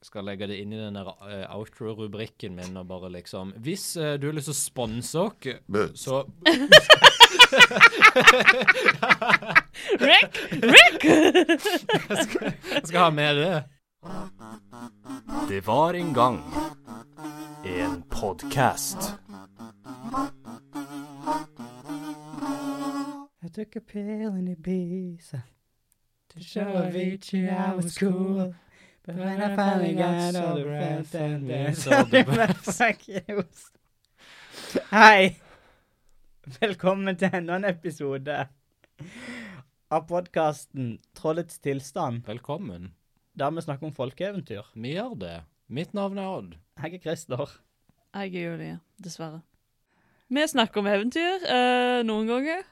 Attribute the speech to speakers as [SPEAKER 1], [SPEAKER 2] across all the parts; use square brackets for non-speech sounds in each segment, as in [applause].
[SPEAKER 1] skal legge det inn i den der eh, outro-rubrikken min og bare liksom Hvis eh, du har lyst til å sponse oss, så
[SPEAKER 2] Rick! Rick!
[SPEAKER 1] jeg skal ha med det.
[SPEAKER 3] Det var en gang en podkast.
[SPEAKER 4] I took a pill in Ibiza to show Avicii I was cool. But when I finally got over it, then [laughs] there's all the best. Hei. Velkommen til enda en episode av podkasten Trollets tilstand,
[SPEAKER 1] Velkommen.
[SPEAKER 4] der vi snakker om folkeeventyr.
[SPEAKER 1] Vi gjør det. Mitt navn er Odd.
[SPEAKER 4] Jeg er Christer.
[SPEAKER 2] Jeg er Julie, dessverre. Vi snakker om eventyr eh, noen ganger.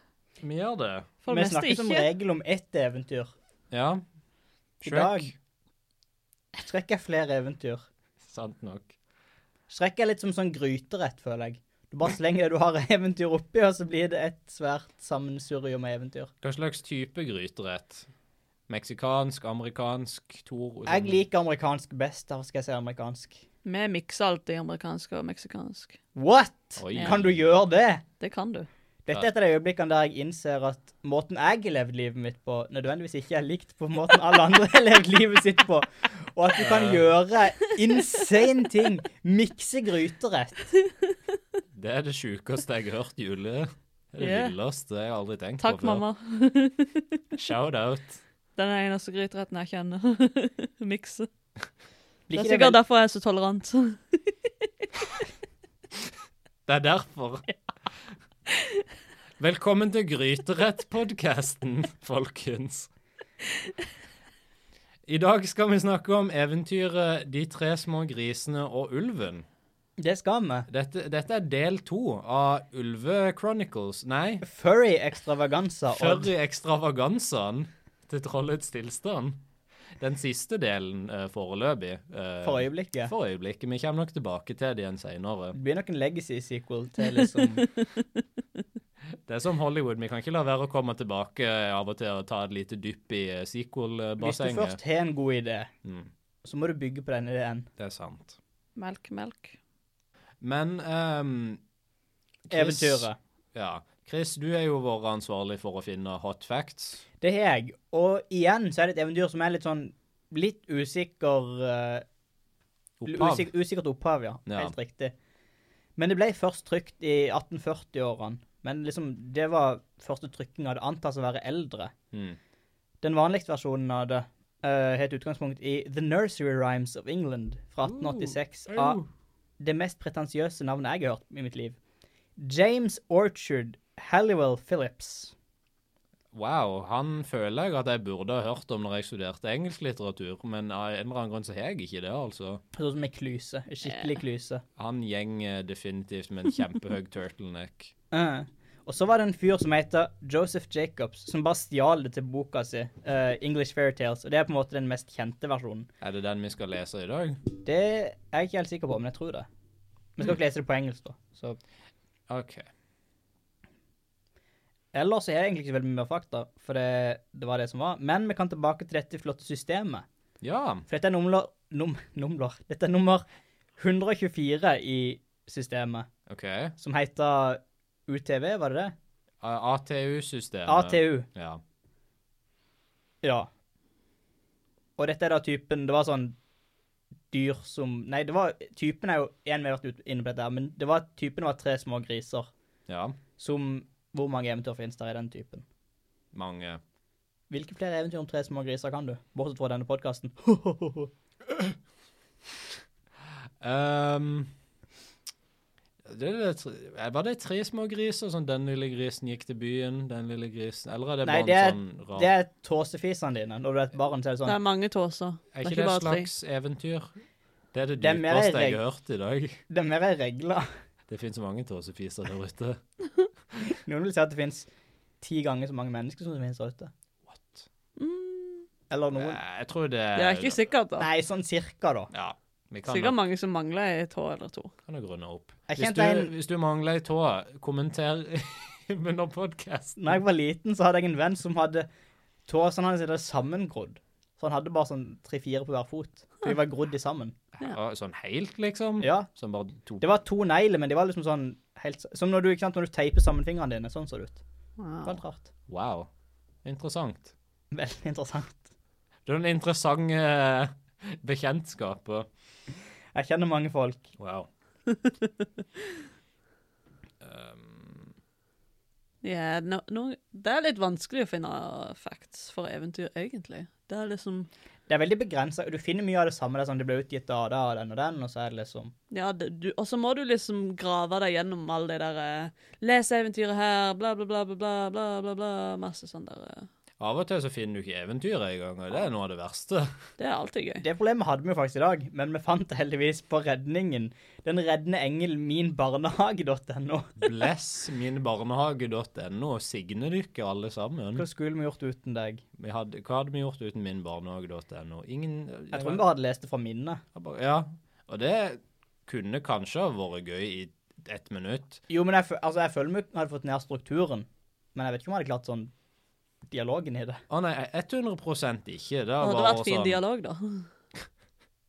[SPEAKER 1] Vi gjør det.
[SPEAKER 2] For
[SPEAKER 4] Vi
[SPEAKER 2] det meste
[SPEAKER 4] snakker som
[SPEAKER 2] ikke.
[SPEAKER 4] regel om ett eventyr.
[SPEAKER 1] Ja.
[SPEAKER 4] I
[SPEAKER 1] Shrek.
[SPEAKER 4] dag Shrek er flere eventyr.
[SPEAKER 1] Sant nok.
[SPEAKER 4] Shrek er litt som sånn gryterett, føler jeg. Du bare slenger det du har [laughs] av eventyr oppi, og så blir det et svært sammensurium av eventyr.
[SPEAKER 1] Hva slags type gryterett? Meksikansk, amerikansk, Tor
[SPEAKER 4] Jeg liker amerikansk best. Derfor skal jeg si amerikansk.
[SPEAKER 2] Vi mikser alltid amerikansk og meksikansk.
[SPEAKER 4] What?!
[SPEAKER 1] Oi.
[SPEAKER 4] Kan du gjøre det?!
[SPEAKER 2] Det kan du.
[SPEAKER 4] Dette er et av de øyeblikkene der jeg innser at måten jeg levde livet mitt på, nødvendigvis ikke er likt på måten alle andre har levd livet sitt på. Og at du kan gjøre insane ting. Mikse gryterett.
[SPEAKER 1] Det er det sjukeste jeg har hørt, Julie. Det er det
[SPEAKER 2] Ja.
[SPEAKER 1] villeste jeg har aldri tenkt
[SPEAKER 2] Takk,
[SPEAKER 1] på før.
[SPEAKER 2] mamma.
[SPEAKER 1] Shout out.
[SPEAKER 2] Den er eneste gryteretten jeg kjenner. [laughs] Mikse.
[SPEAKER 4] Blir
[SPEAKER 2] Det er
[SPEAKER 4] ikke det
[SPEAKER 2] sikkert
[SPEAKER 4] vel-
[SPEAKER 2] derfor jeg er så tolerant. [laughs]
[SPEAKER 1] Det er
[SPEAKER 2] [laughs]
[SPEAKER 1] derfor. Velkommen til Gryterettpodkasten, [laughs] folkens. I dag skal vi snakke om eventyret De tre små grisene og ulven.
[SPEAKER 4] Det skal vi.
[SPEAKER 1] Dette, dette er del to av Ulve Chronicles. Nei,
[SPEAKER 4] Furry extravaganza. Odd.
[SPEAKER 1] Furry ekstravagansaen til Trollets tilstand. Den siste delen eh, foreløpig. eh,
[SPEAKER 4] For øyeblikket.
[SPEAKER 1] for øyeblikket. Vi kommer nok tilbake til det igjen seinere.
[SPEAKER 4] Det blir nok en legacy sequel til liksom
[SPEAKER 1] Det er som Hollywood, vi kan ikke la være å komme tilbake av og til og ta et lite dypp i eh,
[SPEAKER 4] Hvis du
[SPEAKER 1] sequel-bassenget.
[SPEAKER 4] først har en god idé,
[SPEAKER 1] Mm.
[SPEAKER 4] så må du bygge på den ideen.
[SPEAKER 1] Det er sant.
[SPEAKER 2] melk, melk.
[SPEAKER 1] Men ehm, Chris-
[SPEAKER 4] Eventyret.
[SPEAKER 1] Ja. Chris, du er jo vår ansvarlig for å finne hot facts.
[SPEAKER 4] Det har jeg. Og igjen så er det et eventyr som er litt sånn litt usikker eh,
[SPEAKER 1] Opphav.
[SPEAKER 4] Usik Usikkert opphav, ja.
[SPEAKER 1] Ja.
[SPEAKER 4] Helt riktig. Men det ble først trykt i 1840-årene. Men liksom, det var første trykking av det antas å være eldre.
[SPEAKER 1] Mm.
[SPEAKER 4] Den vanligste versjonen av det eh, har et utgangspunkt i The Nursery Rhymes of England fra 1886
[SPEAKER 1] Ah,
[SPEAKER 4] av det mest pretensiøse navnet jeg har hørt i mitt liv. James Orchard Halliwell Phillips.
[SPEAKER 1] Wow, han føler jeg at jeg burde ha hørt om når jeg studerte engelsklitteratur, men av en eller annen grunn så har jeg ikke det, altså.
[SPEAKER 4] Sånn som en kluse. En skikkelig kluse.
[SPEAKER 1] Han gjenger definitivt med en kjempehøy
[SPEAKER 4] [laughs]
[SPEAKER 1] turtleneck.
[SPEAKER 4] Eh. Og så var det en fyr som heter Joseph Jacobs, som bare stjal det til boka si, eh, English Fairytales, og det er på en måte den mest kjente versjonen.
[SPEAKER 1] Er det den vi skal lese i dag?
[SPEAKER 4] Det er jeg ikke helt sikker på, men jeg tror det. Vi skal ikke lese det på engelsk, da. Så.
[SPEAKER 1] OK.
[SPEAKER 4] Ellers så er det egentlig ikke så veldig mye mer fakta, for det, det var det som var. Men vi kan tilbake til dette flotte systemet.
[SPEAKER 1] Ja.
[SPEAKER 4] For dette er numler, num, numler. Dette er nummer 124 i systemet,
[SPEAKER 1] OK.
[SPEAKER 4] som heter UTV, var det det?
[SPEAKER 1] A- ATU-systemet.
[SPEAKER 4] ATU.
[SPEAKER 1] Ja.
[SPEAKER 4] Ja. Og dette er da typen Det var sånn dyr som Nei, det var typen er jo en vi har vært ut- inne på dette, her, men det var, typen var tre små griser.
[SPEAKER 1] ja.
[SPEAKER 4] Som Hvor mange eventyr finnes der i den typen?
[SPEAKER 1] Mange.
[SPEAKER 4] Hvilke flere eventyr om tre små griser kan du? Bortsett fra denne podkasten.
[SPEAKER 1] Ehm, det, er det, tre- var det tre små griser? Sånn den lille grisen gikk til byen, den lille grisen Eller er det
[SPEAKER 4] Nei,
[SPEAKER 1] bare
[SPEAKER 4] det er-
[SPEAKER 1] en sånn rar
[SPEAKER 4] [laughs] Det er tåsefisene dine. Når du er et barn, så er det
[SPEAKER 2] Det
[SPEAKER 4] sånn
[SPEAKER 2] er mange tåser.
[SPEAKER 1] Er
[SPEAKER 2] det er
[SPEAKER 1] ikke
[SPEAKER 2] ikke
[SPEAKER 1] det et
[SPEAKER 2] bare tre.
[SPEAKER 1] slags eventyr? Det er det
[SPEAKER 4] Det er mer
[SPEAKER 1] dypeste jeg
[SPEAKER 4] reg-
[SPEAKER 1] har hørt i dag.
[SPEAKER 4] Det er mer regler.
[SPEAKER 1] Det finnes så mange tåsefiser der ute.
[SPEAKER 4] Noen vil si at det finnes ti ganger så mange mennesker som det finnes der ute.
[SPEAKER 1] What?
[SPEAKER 2] Mm,
[SPEAKER 4] Eller noen.
[SPEAKER 1] Eh, Jeg tror det
[SPEAKER 2] det er ikke sikkert, da.
[SPEAKER 4] Nei, sånn cirka, da.
[SPEAKER 1] Ja. Vi kan
[SPEAKER 2] Sikkert mange som mangler en tå eller to.
[SPEAKER 1] Kan du grunne opp?
[SPEAKER 4] Jeg
[SPEAKER 1] Hvis
[SPEAKER 4] kjente
[SPEAKER 1] du,
[SPEAKER 4] en
[SPEAKER 1] hvis du mangler ei tå, kommenter [laughs] under podkasten.
[SPEAKER 4] Når jeg var liten, så hadde jeg en venn som hadde tåsene hans er sammengrodd. Så han hadde bare sånn tre-fire på hver fot. For de var grodd i sammen.
[SPEAKER 1] Ja, Sånn helt, liksom?
[SPEAKER 4] Ja.
[SPEAKER 1] Som bare tok
[SPEAKER 4] Det var to negler, men de var liksom sånn helt Som når du, ikke sant, når du teiper sammen fingrene dine. Sånn så det ut. Det var
[SPEAKER 2] Wow.
[SPEAKER 4] litt rart.
[SPEAKER 1] Wow. Interessant.
[SPEAKER 4] Veldig interessant.
[SPEAKER 1] Det er en interessant eh, [laughs] bekjentskap. og-
[SPEAKER 4] Jeg kjenner mange folk.
[SPEAKER 1] Wow. um,
[SPEAKER 2] Ja, no, no, det er litt vanskelig å finne facts for eventyr, egentlig. Det er liksom
[SPEAKER 4] Det er veldig begrensa. Du finner mye av det samme. Det er sånn, det ble utgitt av da, den og den, og så er det liksom
[SPEAKER 2] Ja, det- du- og så må du liksom grave deg gjennom alle de der eh, Les eventyret her, bla, bla, bla, bla, bla, bla, bla, bla Masse sånn der eh.
[SPEAKER 1] av og til så finner du ikke eventyret engang, og det er noe av det verste.
[SPEAKER 4] [laughs]
[SPEAKER 2] Det er alltid gøy.
[SPEAKER 4] Det problemet hadde vi jo faktisk i dag, men vi fant det heldigvis på redningen. Den reddende engel minbarnehage.no.
[SPEAKER 1] Bless minbarnehage.no og signe dere alle sammen.
[SPEAKER 4] Hva skulle vi gjort uten deg?
[SPEAKER 1] Vi hadde, hva hadde vi gjort uten minbarnehage.no? Ingen
[SPEAKER 4] Jeg tror vi bare hadde lest det fra minnet.
[SPEAKER 1] bare Ja. Og det kunne kanskje ha vært gøy i ett minutt.
[SPEAKER 4] Jo, men jeg, fø- altså, jeg føler vi hadde fått ned strukturen. Men jeg vet ikke om jeg hadde klart sånn dialogen i det.
[SPEAKER 1] Å nei, 100 ikke. Det
[SPEAKER 2] Det
[SPEAKER 1] var
[SPEAKER 2] hadde
[SPEAKER 1] bare
[SPEAKER 2] vært fin
[SPEAKER 1] sånn
[SPEAKER 2] dialog, da. [laughs]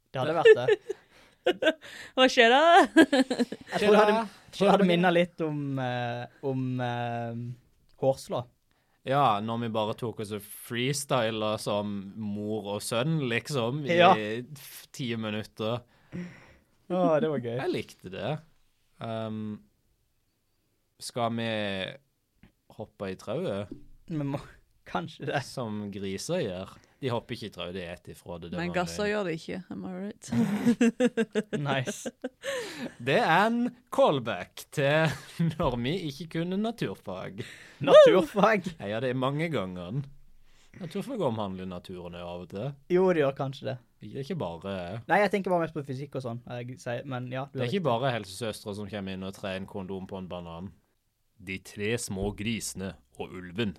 [SPEAKER 4] Det hadde vært [laughs] det.
[SPEAKER 2] Hva skjer da?
[SPEAKER 4] Jeg tror det hadde, jeg tror det hadde minnet litt om, eh, om eh, hårslå.
[SPEAKER 1] Ja, når vi bare tok oss og freestyla som mor og sønn, liksom, i
[SPEAKER 4] Ja.
[SPEAKER 1] f- ti minutter.
[SPEAKER 4] Å, det var [laughs] gøy.
[SPEAKER 1] Jeg likte det. Um, skal vi hoppe i trauet,
[SPEAKER 4] Vi må kanskje [laughs] det.
[SPEAKER 1] som griser gjør? De hopper ikke i trauet, de spiser ifra det. det
[SPEAKER 2] Men
[SPEAKER 1] var en
[SPEAKER 2] gasser
[SPEAKER 1] løgn.
[SPEAKER 2] gjør det ikke. Am I right?
[SPEAKER 4] Nice.
[SPEAKER 1] Det er en callback til [laughs] når vi ikke kunne naturfag.
[SPEAKER 4] Naturfag.
[SPEAKER 1] Jeg gjør det mange ganger. Naturfag omhandler naturen jo av og til.
[SPEAKER 4] Jo, det gjør kanskje det.
[SPEAKER 1] Det er ikke bare
[SPEAKER 4] Nei, jeg tenker bare mest på fysikk og sånn. Jeg sier- Men ja, du
[SPEAKER 1] Det
[SPEAKER 4] har
[SPEAKER 1] er ikke bare helsesøstre som kommer inn og trer en kondom på en banan. De tre små grisene og ulven.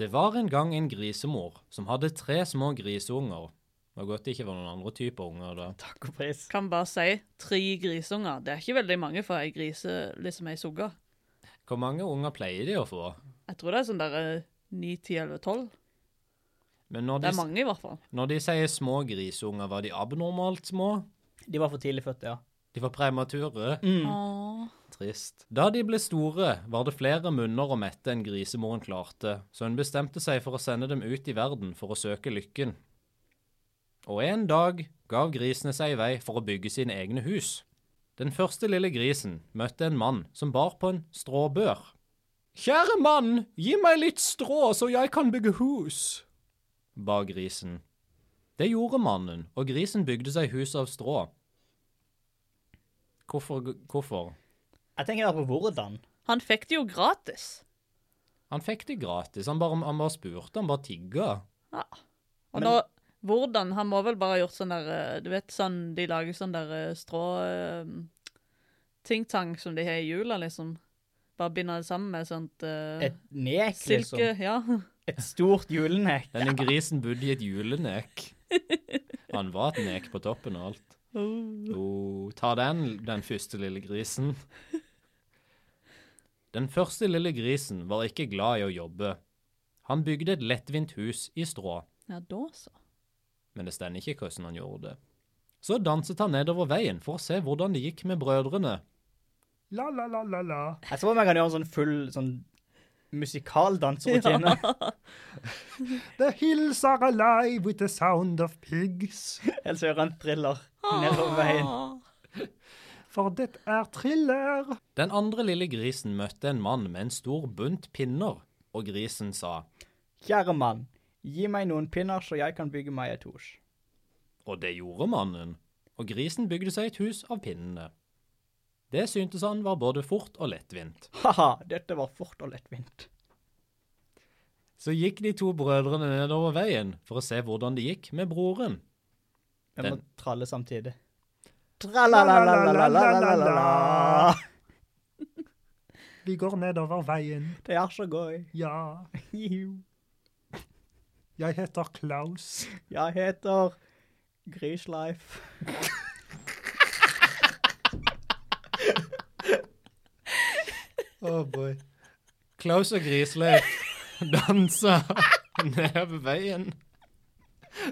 [SPEAKER 1] Det var en gang en grisemor som hadde tre små griseunger. Det var godt det ikke var noen andre typer unger da.
[SPEAKER 4] takk og pris.
[SPEAKER 2] Kan bare si tre grisunger. Det er ikke veldig mange for ei grise liksom ei sugge.
[SPEAKER 1] Hvor mange unger pleier de å få?
[SPEAKER 2] Jeg tror det er sånn der eh, ni, ti, elleve, tolv.
[SPEAKER 1] Men når
[SPEAKER 2] Det
[SPEAKER 1] de,
[SPEAKER 2] er mange, i hvert fall.
[SPEAKER 1] når de sier små grisunger, var de abnormalt små?
[SPEAKER 4] De var for tidlig født, ja.
[SPEAKER 1] De var premature?
[SPEAKER 2] Mm. Åh.
[SPEAKER 1] Trist. Da de ble store, var det flere munner å mette enn grisemoren klarte, så hun bestemte seg for å sende dem ut i verden for å søke lykken. Og en dag gav grisene seg i vei for å bygge sine egne hus. Den første lille grisen møtte en mann som bar på en stråbør. Kjære mann, gi meg litt strå så jeg kan bygge hus, ba grisen. Det gjorde mannen, og grisen bygde seg hus av strå. Hvorfor? hvorfor?
[SPEAKER 4] Jeg tenker bare på hvordan.
[SPEAKER 2] Han fikk det jo gratis.
[SPEAKER 1] Han fikk det gratis. Han bare, han bare spurte, han bare tigga.
[SPEAKER 2] Ja. Og
[SPEAKER 4] Men-
[SPEAKER 2] da, hvordan? Han må vel bare ha gjort sånn der eh, Du vet sånn de lager sånn der eh, strå eh, Ting-tang som de har i jula, liksom. Bare binder det sammen med sånt eh,
[SPEAKER 4] Et nek, liksom.
[SPEAKER 2] silke. Ja. [laughs]
[SPEAKER 4] Et stort julenek.
[SPEAKER 1] Denne grisen bodde i et julenek. Han var et nek på toppen og alt. Oh, ta den, den første lille grisen. Den første lille grisen var ikke glad i å jobbe. Han bygde et lettvint hus i strå,
[SPEAKER 2] ja, da så.
[SPEAKER 1] men det stender ikke hvordan han gjorde det. Så danset han nedover veien for å se hvordan det gikk med brødrene.
[SPEAKER 4] Jeg tror jeg kan gjøre en sånn full sånn musikaldanserutine.
[SPEAKER 5] The hills are alive with the sound of pigs,
[SPEAKER 4] Eller så gjør han thriller nedover veien.
[SPEAKER 5] for det er thriller.
[SPEAKER 1] Den andre lille grisen møtte en mann med en stor bunt pinner, og grisen sa,
[SPEAKER 4] Kjære mann, gi meg noen pinner så jeg kan bygge meg et hus.
[SPEAKER 1] og det gjorde mannen, og grisen bygde seg et hus av pinnene. Det syntes han var både fort og lettvint.
[SPEAKER 4] Haha, dette var fort og lettvint.
[SPEAKER 1] Så gikk de to brødrene nedover veien for å se hvordan det gikk med broren.
[SPEAKER 4] Vi må
[SPEAKER 1] Den-
[SPEAKER 4] tralle samtidig. Tralalalalalalalala.
[SPEAKER 5] Vi går nedover veien,
[SPEAKER 4] Det er så gøy.
[SPEAKER 5] ja.
[SPEAKER 4] Juhu.
[SPEAKER 5] Jeg heter Klaus.
[SPEAKER 4] Jeg heter Grisleif.
[SPEAKER 1] Oh boy. Klaus og [laughs] Grisleif dansa nedover veien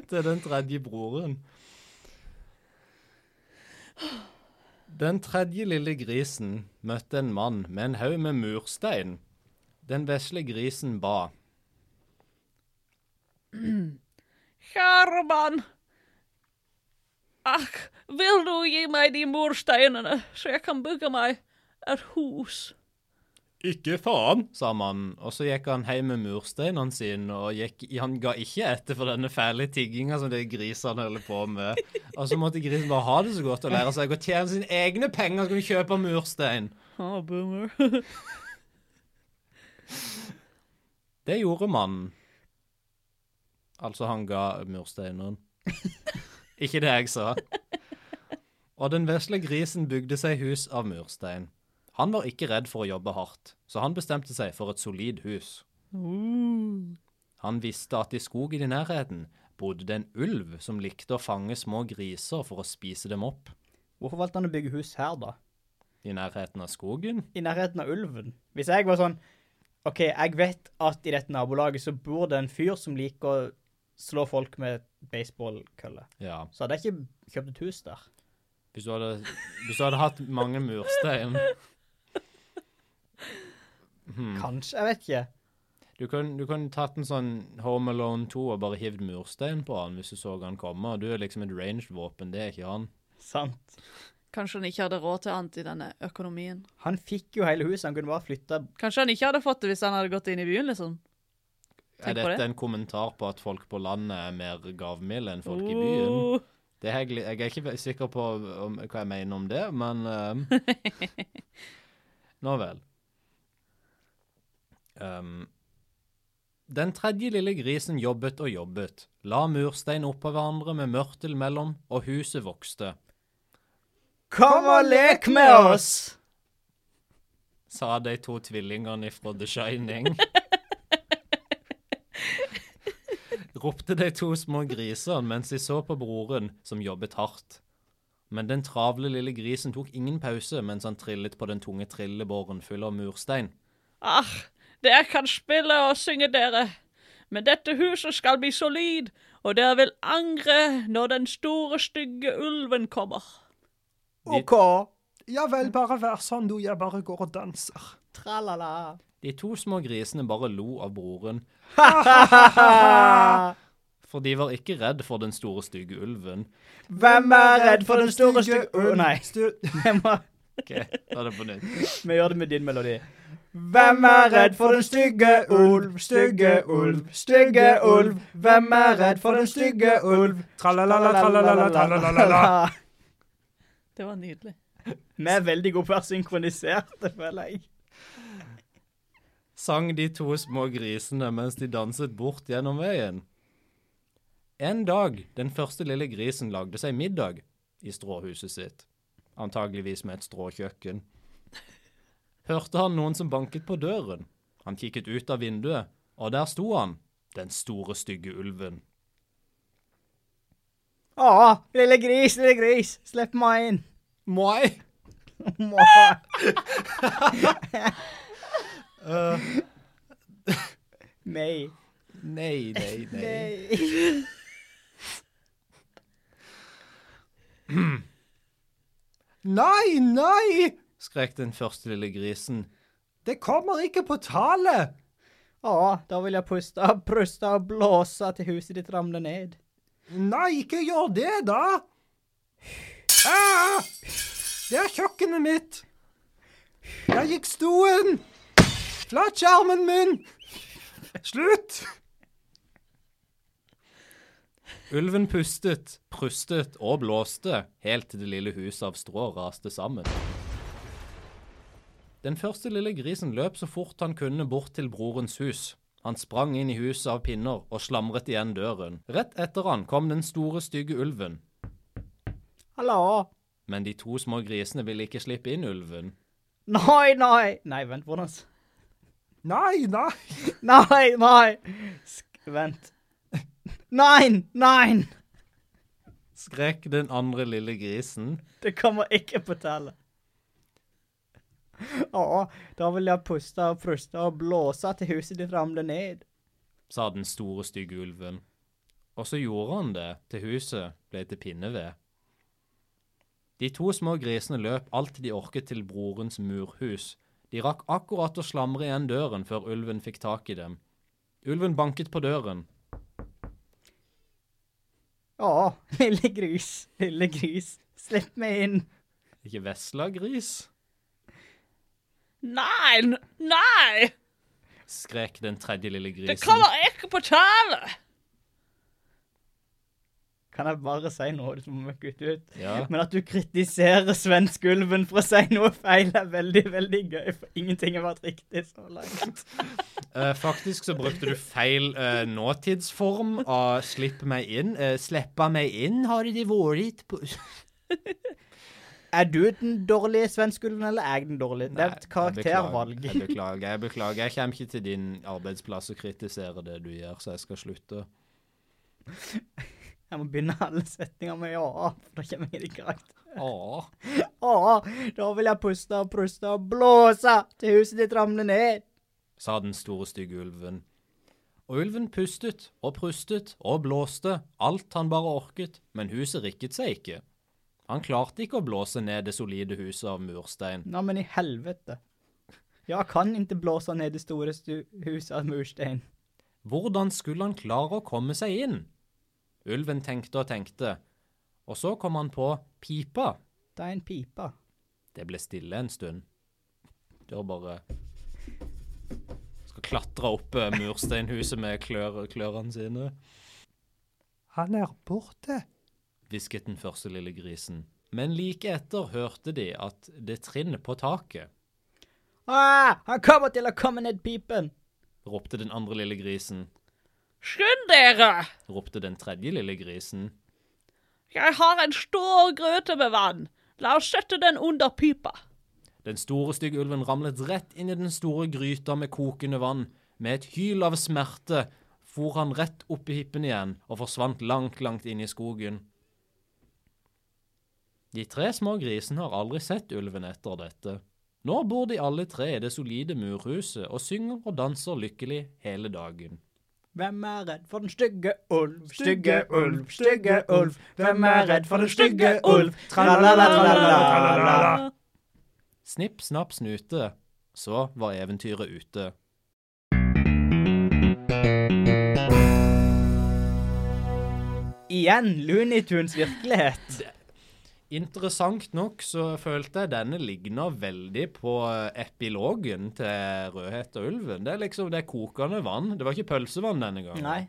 [SPEAKER 1] til den tredje broren. Den tredje lille grisen møtte en mann med en haug med murstein. Den vesle grisen ba.
[SPEAKER 2] Kjære mann. Ach, vil du gi meg de mursteinene, så jeg kan bygge meg et hus?
[SPEAKER 1] Ikke faen, sa mannen, og så gikk han hjem med mursteinene sine, og gikk, han ga ikke etter for denne fæle tigginga som de grisene holder på med. Og så måtte grisen bare ha det så godt og lære seg å tjene sine egne penger, så kan du kjøpe murstein.
[SPEAKER 2] Ah, boomer. [laughs]
[SPEAKER 1] Det gjorde mannen. Altså, han ga mursteineren. Ikke det jeg sa. Og den vesle grisen bygde seg hus av murstein. Han var ikke redd for å jobbe hardt, så han bestemte seg for et solid hus.
[SPEAKER 2] Uh.
[SPEAKER 1] Han visste at i skogen i nærheten bodde det en ulv som likte å fange små griser for å spise dem opp.
[SPEAKER 4] Hvorfor valgte han å bygge hus her, da?
[SPEAKER 1] I nærheten av skogen?
[SPEAKER 4] I nærheten av ulven? Hvis jeg var sånn OK, jeg vet at i dette nabolaget så bor det en fyr som liker å slå folk med baseballkølle.
[SPEAKER 1] Ja.
[SPEAKER 4] Så hadde jeg ikke kjøpt et hus der.
[SPEAKER 1] Hvis du hadde, hvis du hadde hatt mange murstein hmm.
[SPEAKER 4] Kanskje, jeg vet ikke.
[SPEAKER 1] Du kunne du kunne tatt en sånn Home Alone 2 og bare hivd murstein på han hvis du så han komme. Du er liksom et ranged våpen, det er ikke han.
[SPEAKER 4] Sant.
[SPEAKER 2] Kanskje han ikke hadde råd til annet i denne økonomien.
[SPEAKER 4] Han fikk jo hele huset, han kunne bare flytta
[SPEAKER 2] Kanskje han ikke hadde fått det hvis han hadde gått inn i byen, liksom.
[SPEAKER 1] Er
[SPEAKER 2] Tenk på
[SPEAKER 1] dette
[SPEAKER 2] det.
[SPEAKER 1] en kommentar på at folk på landet er mer gavmilde enn folk i byen?
[SPEAKER 2] Oh.
[SPEAKER 1] Det er jeg, gl- jeg er ikke ve- sikker på om, hva jeg mener om det, men eh, Nå vel. Um, den tredje lille grisen jobbet og jobbet, la murstein oppå hverandre med mørtel mellom, og huset vokste,
[SPEAKER 4] Kom og lek med oss!
[SPEAKER 1] sa de to tvillingene fra The Shining. [laughs] Ropte de to små grisene mens de så på broren, som jobbet hardt. Men den travle lille grisen tok ingen pause mens han trillet på den tunge trillebåren full av murstein.
[SPEAKER 2] Ah, dere kan spille og synge, dere. Men dette huset skal bli solid, og dere vil angre når den store, stygge ulven kommer.
[SPEAKER 4] OK.
[SPEAKER 5] Ja vel, bare vær sånn, du. Jeg bare går og danser.
[SPEAKER 4] Tralala.
[SPEAKER 1] De to små grisene bare lo av broren, for de var ikke redd for den store, stygge ulven.
[SPEAKER 4] Hvem er redd for den store stygge Å, Nei,
[SPEAKER 5] Stu-
[SPEAKER 4] [laughs] jeg må-
[SPEAKER 1] Ok, ta det på nytt.
[SPEAKER 4] vi gjør det med din melodi. Hvem er redd for den stygge ulv, stygge ulv, stygge ulv? Hvem er redd for den stygge ulv?
[SPEAKER 5] Tralalala, tralalala, tralalala.
[SPEAKER 2] Det var nydelig.
[SPEAKER 4] [laughs] Vi er veldig gode på å være synkroniserte, føler jeg.
[SPEAKER 1] sang de to små grisene mens de danset bort gjennom veien. En dag den første lille grisen lagde seg middag i stråhuset sitt, antageligvis med et stråkjøkken, hørte han noen som banket på døren. Han kikket ut av vinduet, og der sto han, den store, stygge ulven.
[SPEAKER 4] Å, lille gris, lille gris, slipp meg inn.
[SPEAKER 1] Moi!
[SPEAKER 4] [laughs] Må. Nei.
[SPEAKER 1] Nei, nei, nei.
[SPEAKER 5] Nei, nei!
[SPEAKER 1] skrek den første lille grisen.
[SPEAKER 5] Det kommer ikke på tale!
[SPEAKER 4] Å, da vil jeg puste og pruste og blåse til huset ditt ramler ned.
[SPEAKER 5] Nei, ikke gjør det, da! Ah! Det er kjøkkenet mitt! Der gikk stolen! Flatskjermen min! Slutt!
[SPEAKER 1] Ulven pustet, prustet og blåste, helt til det lille huset av strå raste sammen. Den første lille grisen løp så fort han kunne bort til brorens hus. Han sprang inn i huset av pinner og slamret igjen døren. Rett etter han kom den store, stygge ulven.
[SPEAKER 4] Hallo?
[SPEAKER 1] Men de to små grisene ville ikke slippe inn ulven.
[SPEAKER 4] Nei, nei. Nei, vent, hvordan s-
[SPEAKER 5] Nei, nei.
[SPEAKER 4] Nei, nei. Sk vent. Nei, nei.
[SPEAKER 1] Skrek den andre lille grisen.
[SPEAKER 4] Det kommer ikke på tale. Ja, då vill jag pusta och frusta och blåsa till huset ramlar ned.
[SPEAKER 1] sa den store, stygge ulven. Og så gjorde han det, til huset ble til pinneved. De to små grisene løp alt de orket til brorens murhus. De rakk akkurat å slamre igjen døren før ulven fikk tak i dem. Ulven banket på døren.
[SPEAKER 4] Ja, lille gris, lille gris, slipp meg inn.
[SPEAKER 1] Ikke vesla gris,
[SPEAKER 2] Nei! n- Nei!
[SPEAKER 1] skrek den tredje lille
[SPEAKER 2] Det kommer
[SPEAKER 1] grisen.
[SPEAKER 2] ikke på tale!
[SPEAKER 4] Kan jeg bare si noe som må kutte ut?
[SPEAKER 1] Ja.
[SPEAKER 4] Men at du kritiserer svensk ulven for å si noe feil er veldig, veldig gøy, for ingenting har vært riktig så langt.
[SPEAKER 1] Eh, faktisk så brukte du feil eh, nåtidsform av 'slipp meg inn'. Eh, 'Sleppa meg inn' har de vært på
[SPEAKER 4] Er du den dårlige svensk ulven, eller er jeg den dårlige? Det er et karaktervalg.
[SPEAKER 1] Jeg beklager. Jeg beklager. Jeg kommer ikke til din arbeidsplass og kritiserer det du gjør, så jeg skal slutte.
[SPEAKER 4] Jeg må begynne alle setninger med ja, for da kommer jeg i karakter.
[SPEAKER 1] Åh.
[SPEAKER 4] Å, da vil jeg puste og pruste og blåse til huset ditt ramler ned.
[SPEAKER 1] sa den store, stygge ulven. Og ulven pustet og prustet og blåste alt han bare orket, men huset rikket seg ikke. Han klarte ikke å blåse ned det solide huset av murstein.
[SPEAKER 4] Nei, men i helvete. Jeg kan ikke blåse ned det store stu- huset av murstein.
[SPEAKER 1] Hvordan skulle han klare å komme seg inn? Ulven tenkte og tenkte, og så kom han på pipa.
[SPEAKER 4] Det er en pipe.
[SPEAKER 1] Det ble stille en stund. Det var bare Skal klatre opp eh, mursteinhuset med klør, klørne sine,
[SPEAKER 6] Han er borte.
[SPEAKER 1] hvisket den første lille grisen. Men like etter hørte de at det trinn på taket,
[SPEAKER 4] Ah, han kommer til å komme ned pipen!
[SPEAKER 1] ropte den andre lille grisen,
[SPEAKER 2] Skynd dere!
[SPEAKER 1] ropte den tredje lille grisen,
[SPEAKER 2] Jeg har en stor grøte med vann. La oss sette den under pipa.
[SPEAKER 1] Den store, stygge ulven ramlet rett inn i den store gryta med kokende vann. Med et hyl av smerte for han rett opp i hippen igjen og forsvant langt, langt inn i skogen. De tre små grisene har aldri sett ulven etter dette. Nå bor de alle tre i det solide murhuset og synger og danser lykkelig hele dagen.
[SPEAKER 4] Hvem er redd for den stygge ulv?
[SPEAKER 5] Stygge ulv, stygge ulv. Hvem er redd for den stygge ulv?
[SPEAKER 4] Tra-la-la-la-la-la.
[SPEAKER 1] Snipp, snapp, snute. Så var eventyret ute.
[SPEAKER 4] Igjen Looneytunes virkelighet.
[SPEAKER 1] Interessant nok så følte jeg denne ligna veldig på eh, epilogen til Rødhette og ulven. Det er liksom det er kokende vann. Det var ikke pølsevann denne gangen.
[SPEAKER 4] Nei.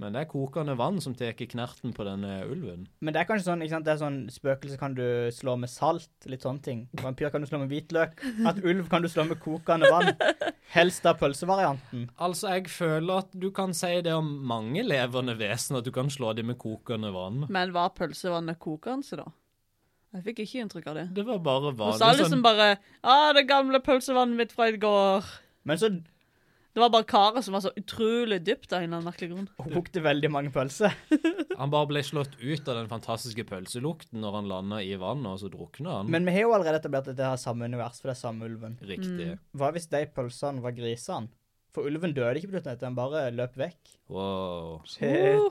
[SPEAKER 1] Men det er kokende vann som tar knerten på denne ulven.
[SPEAKER 4] Men det er kanskje sånn ikke sant? Det er sånn spøkelse kan du slå med salt, litt sånne ting. Vampyr kan du slå med hvitløk. At ulv kan du slå med kokende vann. Helst av pølsevarianten.
[SPEAKER 1] Altså, jeg føler at du kan si det om mange levende vesen, at du kan slå dem med kokende vann.
[SPEAKER 2] Men var pølsevannet kokende, da? Jeg fikk ikke inntrykk av det.
[SPEAKER 1] Det var bare
[SPEAKER 2] Hun sa
[SPEAKER 1] vanlig
[SPEAKER 2] liksom
[SPEAKER 1] sånn
[SPEAKER 2] bare 'Å, det gamle pølsevannet mitt fra i går'.
[SPEAKER 4] Men så
[SPEAKER 2] Det var bare karet som var så utrolig dypt av en eller annen merkelig grunn.
[SPEAKER 4] lukter veldig mange pølser.
[SPEAKER 1] Han bare ble slått ut av den fantastiske pølselukten når han landa i vannet, og så drukna han.
[SPEAKER 4] Men vi har jo allerede etablert at det er samme univers, for det er samme ulven.
[SPEAKER 1] Riktig.
[SPEAKER 4] Hva hvis de pølsene var grisene? For ulven døde ikke på slutten, den bare løp vekk.
[SPEAKER 1] Wow.
[SPEAKER 2] Uh,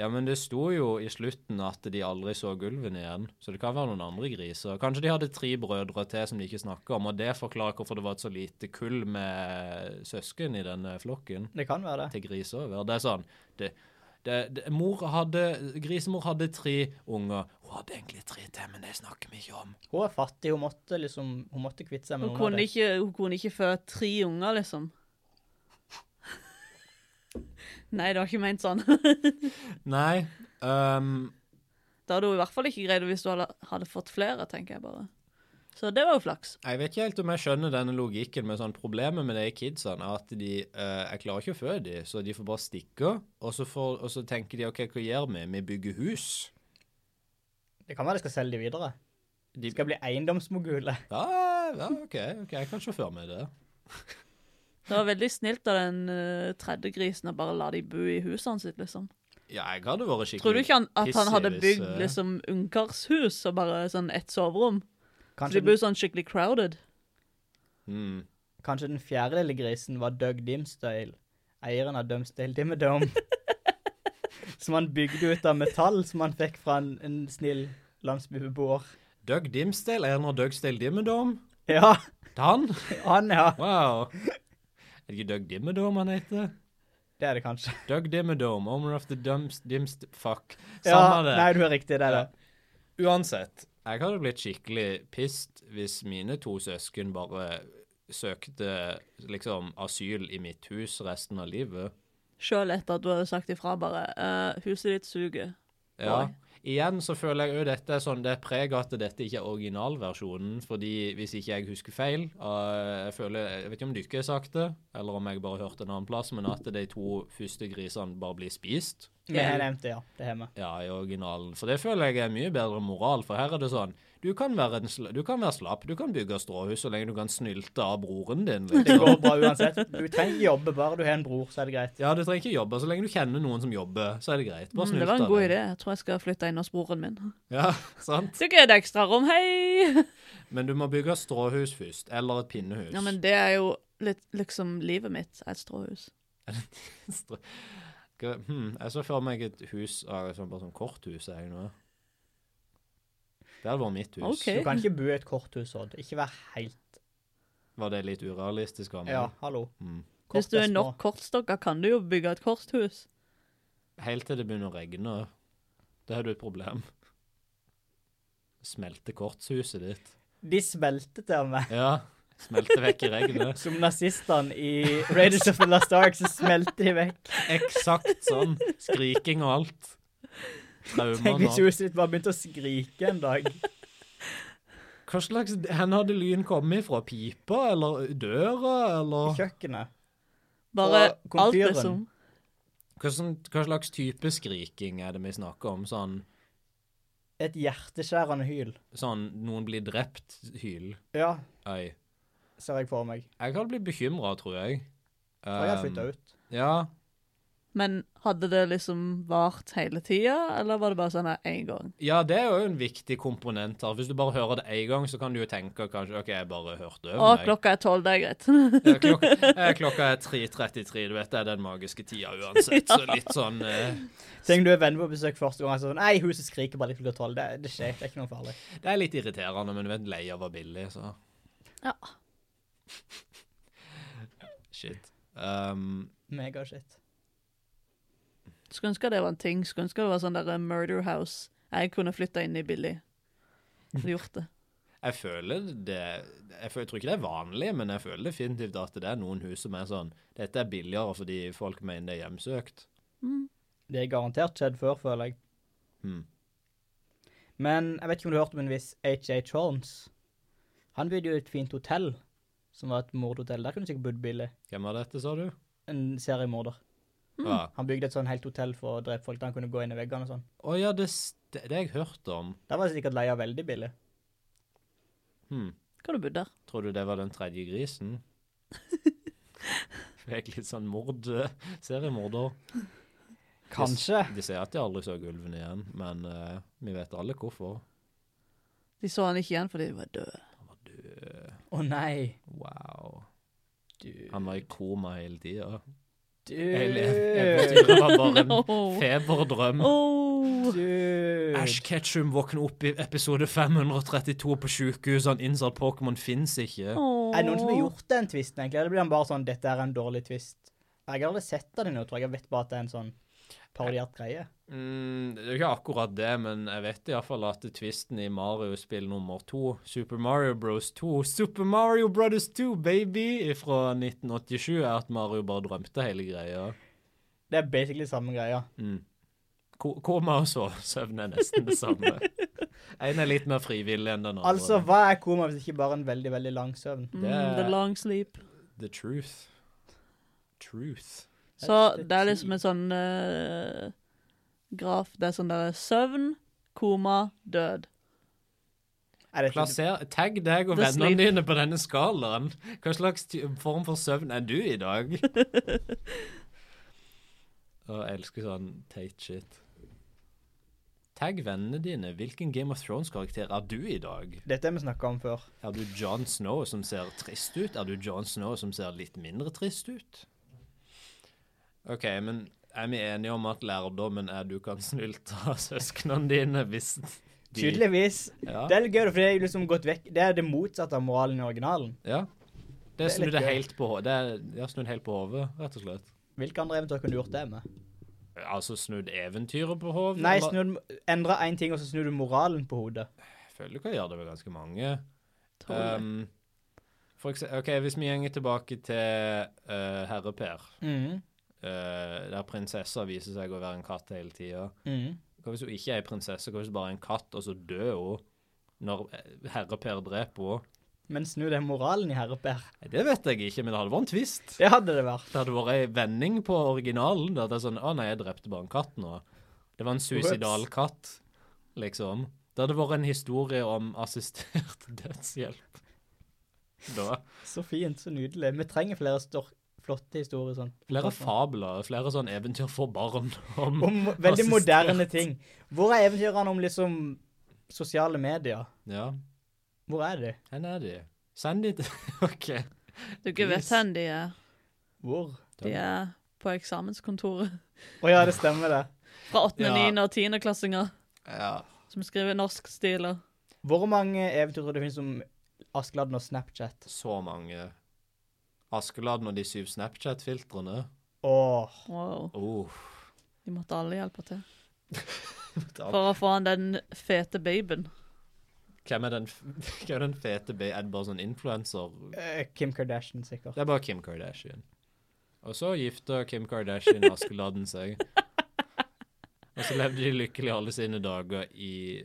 [SPEAKER 1] Ja, men det sto jo i slutten at de aldri så ulven igjen, så det kan være noen andre griser. Kanskje de hadde tre brødre til som de ikke snakka om, og det forklarer hvorfor det var et så lite kull med søsken i denne flokken
[SPEAKER 4] Det kan være det.
[SPEAKER 1] til griser. over. Det er sånn det, det, det, mor hadde, Grisemor hadde tre unger. Hun hadde egentlig tre til, men det snakker vi ikke om.
[SPEAKER 4] Hun er fattig, hun måtte liksom, hun måtte kvitte seg med
[SPEAKER 2] hun,
[SPEAKER 4] noen av
[SPEAKER 2] kunne
[SPEAKER 4] dem.
[SPEAKER 2] ikke, hun kunne ikke føde tre unger, liksom. [laughs] Nei, det var ikke ment sånn. [laughs]
[SPEAKER 1] Nei. ehm,
[SPEAKER 2] Da hadde hun i hvert fall ikke greid det hvis du hadde, hadde fått flere, tenker jeg bare. Så det var jo flaks.
[SPEAKER 1] jeg vet ikke helt om jeg skjønner denne logikken, men sånn problemet med de kidsene er at de eh, Jeg klarer ikke å føde dem, så de får bare stikke. Og så, får, og så tenker de OK, hva gjør vi? Vi bygger hus.
[SPEAKER 4] Det kan være de skal selge de videre.
[SPEAKER 1] De,
[SPEAKER 4] De skal bli eiendomsmogule.
[SPEAKER 1] ja, ja, OK, ok, jeg kan sjåføre med det.
[SPEAKER 2] Det var veldig snilt av den uh, tredje grisen å bare la de bo i huset sitt, liksom.
[SPEAKER 1] Ja, jeg hadde vært skikkelig
[SPEAKER 2] Tror du ikke han, at han
[SPEAKER 1] pissig
[SPEAKER 2] hadde
[SPEAKER 1] hvis,
[SPEAKER 2] bygd
[SPEAKER 1] eh,
[SPEAKER 2] liksom ungkarshus og bare sånn ett soverom? Så
[SPEAKER 4] Kanskje,
[SPEAKER 2] de bor sånn skikkelig crowded.
[SPEAKER 1] Mm.
[SPEAKER 4] Kanskje den fjerde lille grisen var Doug Dimsdale, eieren av Dumsdale Dimmedome. som han bygde ut av metall som han fikk fra en, en snill landsbybeboer.
[SPEAKER 1] Doug Dimsdale er nå Dougsdale Dimmedome.
[SPEAKER 4] Ja,
[SPEAKER 1] Det er han?
[SPEAKER 4] han, ja.
[SPEAKER 1] Wow. Er det ikke Doug Dimmedome han heter?
[SPEAKER 4] Det er det kanskje.
[SPEAKER 1] Doug Dimmedome, owner of the Dumst... Dimst... Fuck.
[SPEAKER 4] Ja,
[SPEAKER 1] Samme det.
[SPEAKER 4] nei, du er riktig, det er det.
[SPEAKER 1] Uansett, jeg hadde blitt skikkelig pissed hvis mine to søsken bare søkte liksom asyl i mitt hus resten av livet.
[SPEAKER 2] Sjøl etter at du hadde sagt ifra, bare eh, 'Huset ditt suger'.
[SPEAKER 1] Ja.
[SPEAKER 2] Oi.
[SPEAKER 1] Igjen så føler jeg jo dette er sånn, det er preg av at dette ikke er originalversjonen, fordi hvis ikke jeg husker feil, og jeg føler, jeg vet ikke om du ikke har sagt det, eller om jeg bare hørte en annen plass, men at de to første grisene bare blir spist.
[SPEAKER 4] Vi har nevnt det, ja. Det har vi.
[SPEAKER 1] Ja, i originalen. For det føler jeg er mye bedre moral, for her er det sånn Du kan være, en sla du kan være slapp, du kan bygge stråhus så lenge du kan snylte av broren
[SPEAKER 2] [laughs]
[SPEAKER 1] din.
[SPEAKER 4] Det
[SPEAKER 1] Liksom.
[SPEAKER 4] går bra uansett. Du trenger ikke jobbe, bare du har en bror, så er det greit.
[SPEAKER 1] Ja, du trenger ikke jobbe. Så lenge du kjenner noen som jobber, så er det greit. Bare
[SPEAKER 2] Mm,
[SPEAKER 1] snylt
[SPEAKER 2] det
[SPEAKER 1] av
[SPEAKER 2] var en god
[SPEAKER 1] dem.
[SPEAKER 2] idé. Jeg tror jeg skal flytte inn hos broren min.
[SPEAKER 1] Ja, [laughs] sant?
[SPEAKER 2] Så ikke er det ekstrarom, hei!
[SPEAKER 1] Men du må bygge stråhus først, eller et pinnehus. [laughs]
[SPEAKER 2] Ja, men det er jo litt liksom livet mitt. er Et stråhus.
[SPEAKER 1] Stra- Skal- hmm, jeg så for meg et hus av sånn, bare sånn korthus. Jeg, nå. Det hadde vært mitt hus.
[SPEAKER 4] Du
[SPEAKER 2] OK.
[SPEAKER 4] kan ikke bo i et korthus, Odd. Ikke vær helt
[SPEAKER 1] Var det litt urealistisk av meg?
[SPEAKER 4] Ja, hallo.
[SPEAKER 1] Mm.
[SPEAKER 2] Hvis du
[SPEAKER 4] Kort
[SPEAKER 2] er
[SPEAKER 4] små.
[SPEAKER 2] nok kortstokker, kan du jo bygge et korthus.
[SPEAKER 1] Helt til det begynner å regne. Da har du et problem. Smelte kortshuset ditt.
[SPEAKER 4] De smelter til meg.
[SPEAKER 1] Ja. Smelte vekk i regnet.
[SPEAKER 4] Som nazistene i Raiders of the Lost Ark, så smelter de vekk.
[SPEAKER 1] Eksakt sånn. Skriking og alt. Traumer
[SPEAKER 4] Tenk hvis
[SPEAKER 1] nå.
[SPEAKER 4] huset ditt bare begynte å skrike en dag.
[SPEAKER 1] Hva slags Hvor hadde lyden kommet ifra? Pipa eller døra, eller
[SPEAKER 4] Kjøkkenet.
[SPEAKER 2] Bare
[SPEAKER 4] Og komfyren.
[SPEAKER 2] alt det som
[SPEAKER 1] hva, sånn- hva slags type skriking er det vi snakker om? Sånn,
[SPEAKER 4] Et hjerteskjærende hyl.
[SPEAKER 1] sånn noen blir drept-hyl?
[SPEAKER 4] Ja,
[SPEAKER 1] Oi.
[SPEAKER 4] ser jeg for meg.
[SPEAKER 1] Jeg hadde blitt bekymra, tror jeg. Um,
[SPEAKER 4] Og jeg flytta ut.
[SPEAKER 1] Ja.
[SPEAKER 2] Men hadde det liksom vart hele tida, eller var det bare sånn her én gang?
[SPEAKER 1] Ja, det er jo en viktig komponent her. Hvis du bare hører det én gang, så kan du jo tenke kanskje OK, jeg bare hørte
[SPEAKER 2] Å,
[SPEAKER 1] meg.
[SPEAKER 2] klokka er tolv, det er greit. [laughs]
[SPEAKER 1] Ja, klokka, eh, klokka er 3.33, du vet det er den magiske tida
[SPEAKER 2] [laughs]
[SPEAKER 1] uansett, så litt sånn eh,
[SPEAKER 4] Tenk du er venner på besøk første gang, så sånn Nei, huset skriker bare litt klokka tolv. Det, det skjer, det er ikke noe farlig.
[SPEAKER 1] Det er litt irriterende, men du vet leia var billig, så
[SPEAKER 2] Ja.
[SPEAKER 1] Shit. Um,
[SPEAKER 4] Megashit.
[SPEAKER 2] Skulle ønske det var en ting. Skulle ønske det var sånn der eh, murder house. Jeg kunne flytta inn i billig. Hadde gjort det.
[SPEAKER 1] jeg føler det jeg, føler, jeg tror ikke det er vanlig, men jeg føler definitivt at det er noen hus som er sånn Dette er billigere fordi folk mener det er hjemsøkt.
[SPEAKER 4] Det er garantert skjedd før, føler jeg.
[SPEAKER 1] Hmm.
[SPEAKER 4] Men jeg vet ikke om du hørte om en viss H.H. Holmes. Han bygde jo et fint hotell, som var et mordhotell. Der kunne du sikkert bodd billig.
[SPEAKER 1] Hvem var dette, sa du?
[SPEAKER 4] En seriemorder.
[SPEAKER 2] Mm.
[SPEAKER 1] Ja.
[SPEAKER 4] Han bygde et sånn helt hotell for å drepe folk, der han kunne gå inn i veggene og sånn.
[SPEAKER 1] Å ja, det, st- det har jeg hørt om.
[SPEAKER 4] Der var det sikkert leia veldig billig.
[SPEAKER 1] Hmm.
[SPEAKER 2] Hva du bodd der?
[SPEAKER 1] Tror du det var den tredje grisen? Fikk litt sånn mord... Seriemorder.
[SPEAKER 4] Kanskje.
[SPEAKER 1] De sier at de aldri så ulven igjen, men eh, vi vet alle hvorfor.
[SPEAKER 2] De så han ikke igjen fordi de var
[SPEAKER 4] [laughs]
[SPEAKER 2] døde.
[SPEAKER 4] Å nei.
[SPEAKER 1] Wow.
[SPEAKER 4] Du,
[SPEAKER 1] Han var i koma hele tida.
[SPEAKER 4] du,
[SPEAKER 1] Jeg le- jeg trodde det var bare en feberdrøm.
[SPEAKER 2] Oh.
[SPEAKER 4] du.
[SPEAKER 1] Ash Ketchum våkner opp i episode 532 på sjukehus. Han innser at Pokémon fins ikke.
[SPEAKER 4] Er det noen som har gjort den tvisten, egentlig? Eller blir han bare sånn 'Dette er en dårlig tvist'? Jeg har aldri sett den nå, tror jeg. Jeg vet bare at det er en sånn parodiert greie.
[SPEAKER 1] Mm, det er jo ikke akkurat det, men jeg vet iallfall at tvisten i Mario-spill nummer to, Super Mario Bros 2 Super Mario Brothers 2, baby! fra 1987, er at Mario bare drømte hele greia.
[SPEAKER 4] Det er basically samme greia.
[SPEAKER 1] Mm. Ko- Koma og sov- søvn er nesten det samme. En er litt mer frivillig enn den andre.
[SPEAKER 4] Altså, hva er koma hvis ikke bare en veldig, veldig lang søvn?
[SPEAKER 2] Mm,
[SPEAKER 1] Det-
[SPEAKER 2] the long sleep.
[SPEAKER 1] The truth. Truth.
[SPEAKER 2] Så
[SPEAKER 4] the
[SPEAKER 2] det er liksom
[SPEAKER 4] tea.
[SPEAKER 2] en sånn eh, graf. Det er sånn der søvn, koma, død.
[SPEAKER 4] Er det ikke
[SPEAKER 1] Plasser, tagg deg og
[SPEAKER 2] The
[SPEAKER 1] vennene
[SPEAKER 2] sleep.
[SPEAKER 1] dine på denne skalaen. Hva slags ty- form for søvn er du i dag? Å, Jeg elsker sånn teit shit. Tagg vennene dine. Hvilken Game of Thrones-karakter er du i dag?
[SPEAKER 4] Dette har vi snakka om før.
[SPEAKER 1] Er du John Snow som ser trist ut? Er du John Snow som ser litt mindre trist ut? OK, men er vi enige om at lærdommen er du kan snylte av søsknene dine hvis de
[SPEAKER 4] Tydeligvis.
[SPEAKER 1] Ja.
[SPEAKER 4] Det er litt gøy, for det er jo liksom gått vekk. Det er det motsatte av moralen i originalen.
[SPEAKER 1] ja. Det
[SPEAKER 4] er litt
[SPEAKER 1] snudde
[SPEAKER 4] gøy.
[SPEAKER 1] helt på ho- Det er ja, snudd helt på hodet, rett og slett.
[SPEAKER 4] Hvilke andre eventyr kunne du gjort det med?
[SPEAKER 1] Altså snudd eventyret på hodet?
[SPEAKER 4] Nei,
[SPEAKER 1] eller-
[SPEAKER 4] snu, endre én ting, og så snur du moralen på hodet.
[SPEAKER 1] Jeg føler du kan gjøre det med ganske mange.
[SPEAKER 2] Tror det.
[SPEAKER 1] Um, for ekse- ok, Hvis vi gjenger tilbake til uh, Herre Per,
[SPEAKER 4] Mm.
[SPEAKER 1] eh, der prinsessa viser seg å være en katt hele tida
[SPEAKER 4] Mm.
[SPEAKER 1] Hva hvis hun ikke er ei prinsesse, hva hvis hun bare er en katt, og så dør hun når eh, Herre Per dreper henne?
[SPEAKER 4] Men snu den moralen i Herre Per.
[SPEAKER 1] Nei, Det vet jeg ikke, men det hadde vært en twist.
[SPEAKER 4] Det hadde det vært.
[SPEAKER 1] Det hadde vært ei vending på originalen. der Det er sånn Å nei, jeg drepte bare en katt nå. Det var en suicidal katt, liksom. Det hadde vært en historie om assistert [laughs] dødshjelp. Da.
[SPEAKER 4] Så fint, så nydelig. Vi trenger flere stor flotte historier sånn.
[SPEAKER 1] Flere fabler, flere sånn eventyr for barn om
[SPEAKER 4] Om mo- veldig
[SPEAKER 1] Assistert.
[SPEAKER 4] moderne ting. Hvor er eventyrene om liksom sosiale medier?
[SPEAKER 1] Ja,
[SPEAKER 4] Hvor er de?
[SPEAKER 1] hvor er de? Send de til [laughs] OK.
[SPEAKER 2] Du ikke vet
[SPEAKER 1] Please.
[SPEAKER 2] hvor de er.
[SPEAKER 4] Hvor?
[SPEAKER 2] De er på eksamenskontoret. [laughs]
[SPEAKER 4] Å ja, det stemmer det.
[SPEAKER 2] Fra 8.,
[SPEAKER 1] Ja.
[SPEAKER 2] 9. og 10. klassinger
[SPEAKER 1] Ja.
[SPEAKER 2] som skriver norskstiler.
[SPEAKER 4] Hvor mange eventyr tror du det finnes om Askeladden og Snapchat?
[SPEAKER 1] Så mange. Askeladden og de syv Snapchat-filtrene.
[SPEAKER 4] Åh,
[SPEAKER 2] Wow.
[SPEAKER 1] Oh.
[SPEAKER 2] De måtte alle hjelpe
[SPEAKER 1] [laughs]
[SPEAKER 2] til.
[SPEAKER 1] alt.
[SPEAKER 2] For å få han den fete babyen.
[SPEAKER 1] Hvem er den, f- [laughs] hvem er den fete B? Er det bare sånn influenser?
[SPEAKER 4] eh, Kim Kardashian sikkert.
[SPEAKER 1] Det er bare Kim Kardashian. Og så gifta Kim Kardashian og Askeladden seg. Og så levde de lykkelig alle sine dager i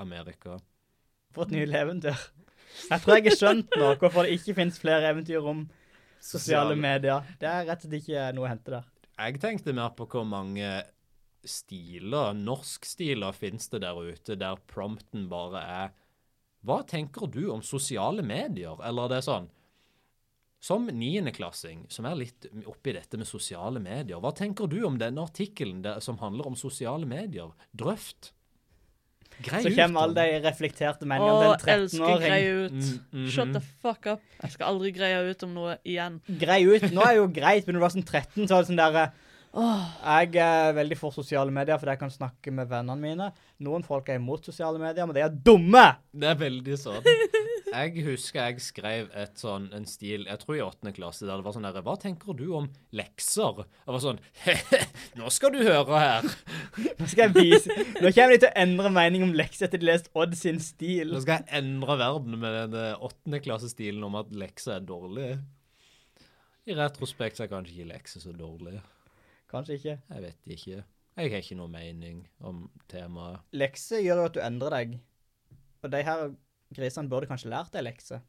[SPEAKER 1] Amerika.
[SPEAKER 4] For et nylig eventyr. Jeg tror jeg har skjønt nå hvorfor det ikke finnes flere eventyr om sosiale medier. Det er rett og slett ikke noe å hente der.
[SPEAKER 1] Jeg tenkte mer på hvor mange stiler, norskstiler, finnes det der ute der prompten bare er Hva tenker du om sosiale medier? Eller det er sånn Som niendeklassing, som er litt oppi dette med sosiale medier, hva tenker du om denne artikkelen der, som handler om sosiale medier? Drøft. Grei
[SPEAKER 4] Så
[SPEAKER 1] ut
[SPEAKER 4] kommer
[SPEAKER 1] om-
[SPEAKER 4] alle de reflekterte
[SPEAKER 2] Å,
[SPEAKER 4] mennene om den
[SPEAKER 2] elsker
[SPEAKER 4] 13-åring.
[SPEAKER 2] greie ut.
[SPEAKER 1] Mm, mhm.
[SPEAKER 2] Shut the fuck up. Jeg skal aldri greie ut om noe igjen.
[SPEAKER 4] Grei ut. Nå er jo greit, men når du var sånn 13, så var det sånn derre Jeg er veldig for sosiale medier, fordi jeg kan snakke med vennene mine. Noen folk er imot sosiale medier, men de er dumme!
[SPEAKER 1] Det er veldig sånn. Jeg husker jeg skrev et sånn, en stil, jeg tror i åttende klasse, der det var sånn der, hva tenker du om lekser? Jeg var sånn, [laughs] nå skal du høre her.
[SPEAKER 4] Nå skal jeg vise Nå kommer de til å endre mening om lekser etter de har lest Odd sin stil.
[SPEAKER 1] Nå skal jeg endre verden med den eh, åttende klassestilen om at lekser er dårlig. I retrospekt så er kanskje ikke lekser så dårlig.
[SPEAKER 4] Kanskje ikke.
[SPEAKER 1] Jeg vet ikke. Jeg har ikke noe mening om temaet.
[SPEAKER 4] Lekser gjør jo at du endrer deg. Og de her grisene burde kanskje lært deg lekser.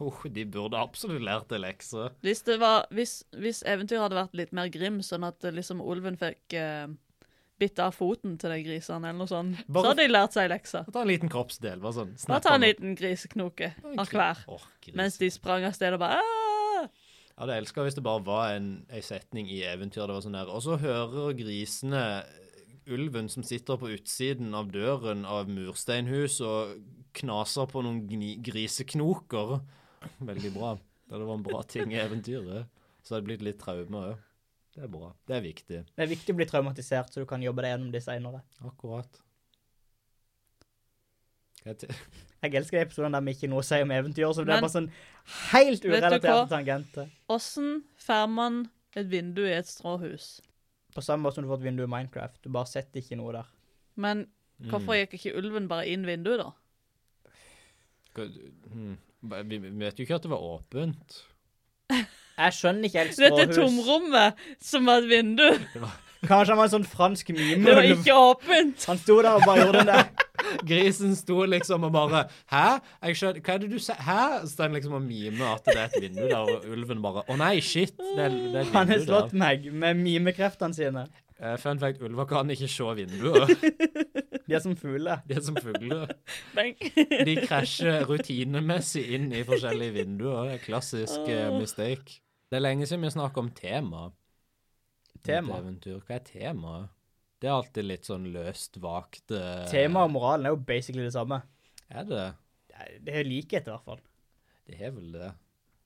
[SPEAKER 1] Oh, de burde absolutt lært det lekser.
[SPEAKER 2] Hvis, det var, hvis, hvis eventyret hadde vært litt mer grim, sånn at eh, liksom ulven fikk eh, bitt av foten til de grisene, eller noe sånt,
[SPEAKER 1] Bare-
[SPEAKER 2] så hadde de lært seg leksa.
[SPEAKER 1] Ta en liten kroppsdel, bare sånn.
[SPEAKER 2] Bare ta en liten griseknoke av hver,
[SPEAKER 1] Orker
[SPEAKER 2] mens de sprang av sted og bare «Ah!»
[SPEAKER 1] Jeg hadde elska hvis det bare var en, en setning i eventyr. Det var sånn der, Og så hører grisene ulven som sitter på utsiden av døren av mursteinhus og knaser på noen gni, griseknoker. [laughs] Veldig bra. Det var en bra ting i eventyret. Så hadde det blitt litt traume òg. Det er bra. Det er viktig.
[SPEAKER 4] Det er viktig å bli traumatisert, så du kan jobbe deg gjennom det seinere.
[SPEAKER 1] Akkurat. Hva [laughs] er det-
[SPEAKER 4] Jeg elsker de episodene der vi ikke har noe å si om eventyr, så det
[SPEAKER 2] Men-
[SPEAKER 4] er bare sånn helt
[SPEAKER 2] du hva?
[SPEAKER 4] urelaterte tangenter.
[SPEAKER 2] Åssen får man et vindu i et stråhus?
[SPEAKER 4] På samme måte som du får et vindu i Minecraft. Du bare setter ikke noe der.
[SPEAKER 2] Men hvorfor
[SPEAKER 1] Mm.
[SPEAKER 2] gikk ikke ulven bare inn vinduet, da?
[SPEAKER 1] Hva- mm. Vi vi vet jo ikke at det var åpent.
[SPEAKER 4] Jeg skjønner ikke helt
[SPEAKER 2] Dette
[SPEAKER 4] stråhus.
[SPEAKER 2] tomrommet som var et vindu,
[SPEAKER 4] Kanskje han var en sånn fransk mime.
[SPEAKER 2] [laughs] det var ikke åpent!
[SPEAKER 4] Han sto der og bare gjorde
[SPEAKER 2] [laughs]
[SPEAKER 4] den der.
[SPEAKER 1] Grisen sto liksom og bare Hæ? Jeg skjønner, hva er det du sier? Hæ? Så den liksom og mimer at det er et vindu der, og ulven bare Å nei, shit! Det er, det er
[SPEAKER 4] Han
[SPEAKER 1] et
[SPEAKER 4] har
[SPEAKER 1] vindu
[SPEAKER 4] slått
[SPEAKER 1] der.
[SPEAKER 4] meg med mimekreftene sine.
[SPEAKER 1] Eh, fun fact, ulver kan ikke se vinduer.
[SPEAKER 4] De er som fugler.
[SPEAKER 1] De er som fugler.
[SPEAKER 2] Bang.
[SPEAKER 1] De krasjer rutinemessig inn i forskjellige vinduer. Det er klassisk eh, mistake. Det er lenge siden vi snakket om tema. i et
[SPEAKER 4] Tema.
[SPEAKER 1] Eventyr. Hva er temaet? Det er alltid litt sånn løst vagt eh,
[SPEAKER 4] Temaet og moralen er jo basically det samme.
[SPEAKER 1] Er det?
[SPEAKER 4] Det er likhet, i hvert fall.
[SPEAKER 1] Det er vel det.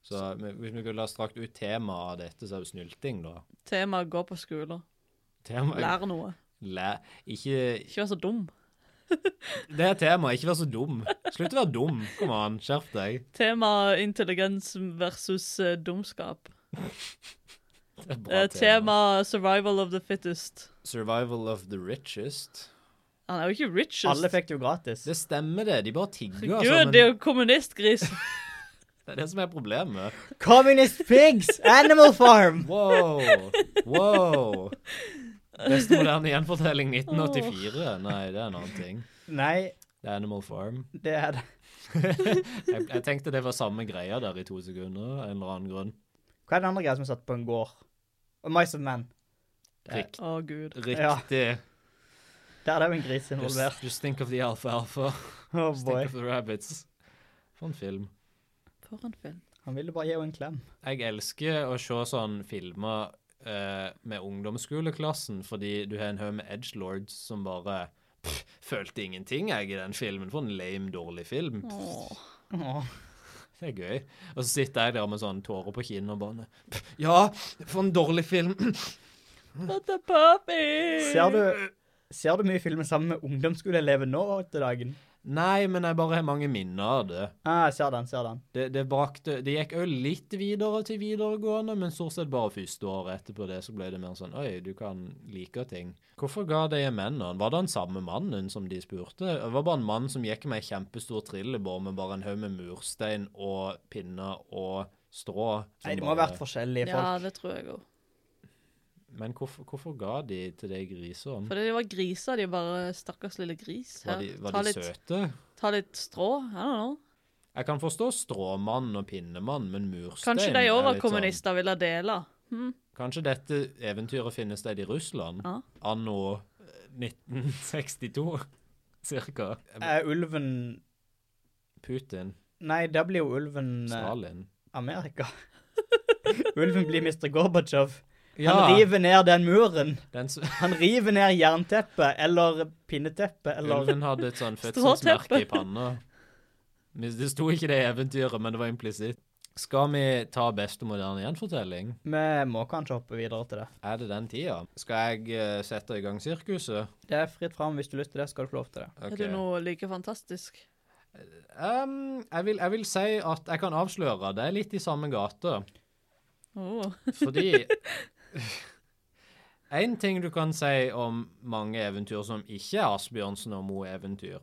[SPEAKER 1] Så men hvis vi kunne ha strakt ut temaet av dette, så er det snylting, da.
[SPEAKER 2] [laughs] Temaet gå på skolen.
[SPEAKER 1] Tema,
[SPEAKER 2] Lær noe.
[SPEAKER 1] læ, ikke
[SPEAKER 2] Ikke vær så dum.
[SPEAKER 1] Det er temaet. Ikke vær så dum. Slutt å være dum. Kom an, skjerp deg.
[SPEAKER 2] Tema intelligens versus eh, dumskap.
[SPEAKER 1] Det er et bra
[SPEAKER 2] Eh, tema survival of the fittest.
[SPEAKER 1] Survival of the richest.
[SPEAKER 2] Han er jo ikke richest.
[SPEAKER 4] Alle fikk det jo gratis.
[SPEAKER 1] Det stemmer, det. De bare tigger.
[SPEAKER 2] Gud,
[SPEAKER 1] altså, men
[SPEAKER 2] det er jo kommunistgris. [laughs]
[SPEAKER 1] det er det som er problemet.
[SPEAKER 4] Communist pigs! Animal farm! [laughs]
[SPEAKER 1] Wow. Wow. Beste moderne gjenfortelling 1984. Nei, det er en annen ting.
[SPEAKER 4] Nei,
[SPEAKER 1] Det er Animal Farm. [laughs]
[SPEAKER 4] det er det.
[SPEAKER 1] Jeg, jeg tenkte det var samme greia der i to sekunder, av en eller annen grunn.
[SPEAKER 4] Hva er den andre greia som er satt på en gård? Og Mice and Men.
[SPEAKER 1] Rikt,
[SPEAKER 2] Å, gud.
[SPEAKER 1] riktig.
[SPEAKER 4] Der er det jo en gris involvert.
[SPEAKER 1] Just, just think of the alfalfa.
[SPEAKER 4] Oh
[SPEAKER 1] Just
[SPEAKER 4] boy.
[SPEAKER 1] think of the rabbits. For en film.
[SPEAKER 2] For en film.
[SPEAKER 4] Han ville bare gi henne en klem.
[SPEAKER 1] Jeg elsker å se sånn filmer eh, med ungdomsskoleklassen, fordi du har en haug med edgelords som bare pff, følte ingenting jeg i den filmen. For en lame, dårlig film. Pff,
[SPEAKER 2] Åh.
[SPEAKER 4] Åh.
[SPEAKER 1] det er gøy. Og så sitter jeg der med sånn tårer på kinnet og bare pff, Ja, for en dårlig film! [clears throat]
[SPEAKER 2] What the puppy!
[SPEAKER 4] Ser du, ser du mye filmer sammen med ungdomsskoleelever nå til dagen?
[SPEAKER 1] Nei, men jeg bare har mange minner av det.
[SPEAKER 4] Ah, jeg ser den, ser den.
[SPEAKER 1] Det, det, brakte, det gikk òg litt videre til videregående, men stort sett bare første året etterpå det, så ble det mer sånn Oi, du kan like ting. Hvorfor ga de mennene? Var det den samme mannen som de spurte? Det var bare en mann som gikk med ei kjempestor trillebår med bare en haug med murstein og pinner og strå. som
[SPEAKER 4] Nei, det må ha
[SPEAKER 1] bare-
[SPEAKER 4] vært forskjellige folk.
[SPEAKER 2] Ja, det tror jeg òg.
[SPEAKER 1] Men hvorfor, hvorfor ga de til de grisene?
[SPEAKER 2] Fordi de var griser, de bare Stakkars lille gris.
[SPEAKER 1] Var
[SPEAKER 2] Her,
[SPEAKER 1] de, var
[SPEAKER 2] ta,
[SPEAKER 1] de
[SPEAKER 2] litt,
[SPEAKER 1] søte?
[SPEAKER 2] ta litt strå. I don't know.
[SPEAKER 1] Jeg kan forstå stråmann og pinnemann, men murstein
[SPEAKER 2] Kanskje de
[SPEAKER 1] er
[SPEAKER 2] òg
[SPEAKER 1] litt
[SPEAKER 2] var
[SPEAKER 1] sånn-
[SPEAKER 2] kommunister og ville dele. Hm?
[SPEAKER 1] Kanskje dette eventyret finner sted i Russland?
[SPEAKER 2] Ja.
[SPEAKER 1] Anno eh, 1962, cirka.
[SPEAKER 4] Er Eh, ulven
[SPEAKER 1] Putin,
[SPEAKER 4] Nei, da blir jo ulven eh,
[SPEAKER 1] Stalin.
[SPEAKER 4] Amerika. [laughs] ulven blir Mr. Gorbatsjov. Han
[SPEAKER 1] Ja,
[SPEAKER 4] river ned den muren.
[SPEAKER 1] den s-
[SPEAKER 4] Han river ned jernteppet eller pinneteppet eller
[SPEAKER 1] ulven hadde et
[SPEAKER 2] [laughs]
[SPEAKER 1] sånn
[SPEAKER 2] Stråteppe.
[SPEAKER 1] fødselsmerke i panna. Men Det sto ikke det i eventyret, men det var implisitt. Skal vi ta beste moderne gjenfortelling?
[SPEAKER 4] Vi må kanskje hoppe videre til det.
[SPEAKER 1] Er det den tida? Skal jeg eh, sette i gang sirkuset?
[SPEAKER 4] Det er fritt fram. Hvis du har lyst til det, skal du få lov til det.
[SPEAKER 1] Ok.
[SPEAKER 2] Er det noe like fantastisk?
[SPEAKER 1] Ehm, jeg, vil, jeg vil si at jeg kan avsløre. Det er litt i samme gate.
[SPEAKER 2] Åh.
[SPEAKER 1] Fordi [laughs] En ting du kan si om mange eventyr som ikke er Asbjørnsen og Moe-eventyr,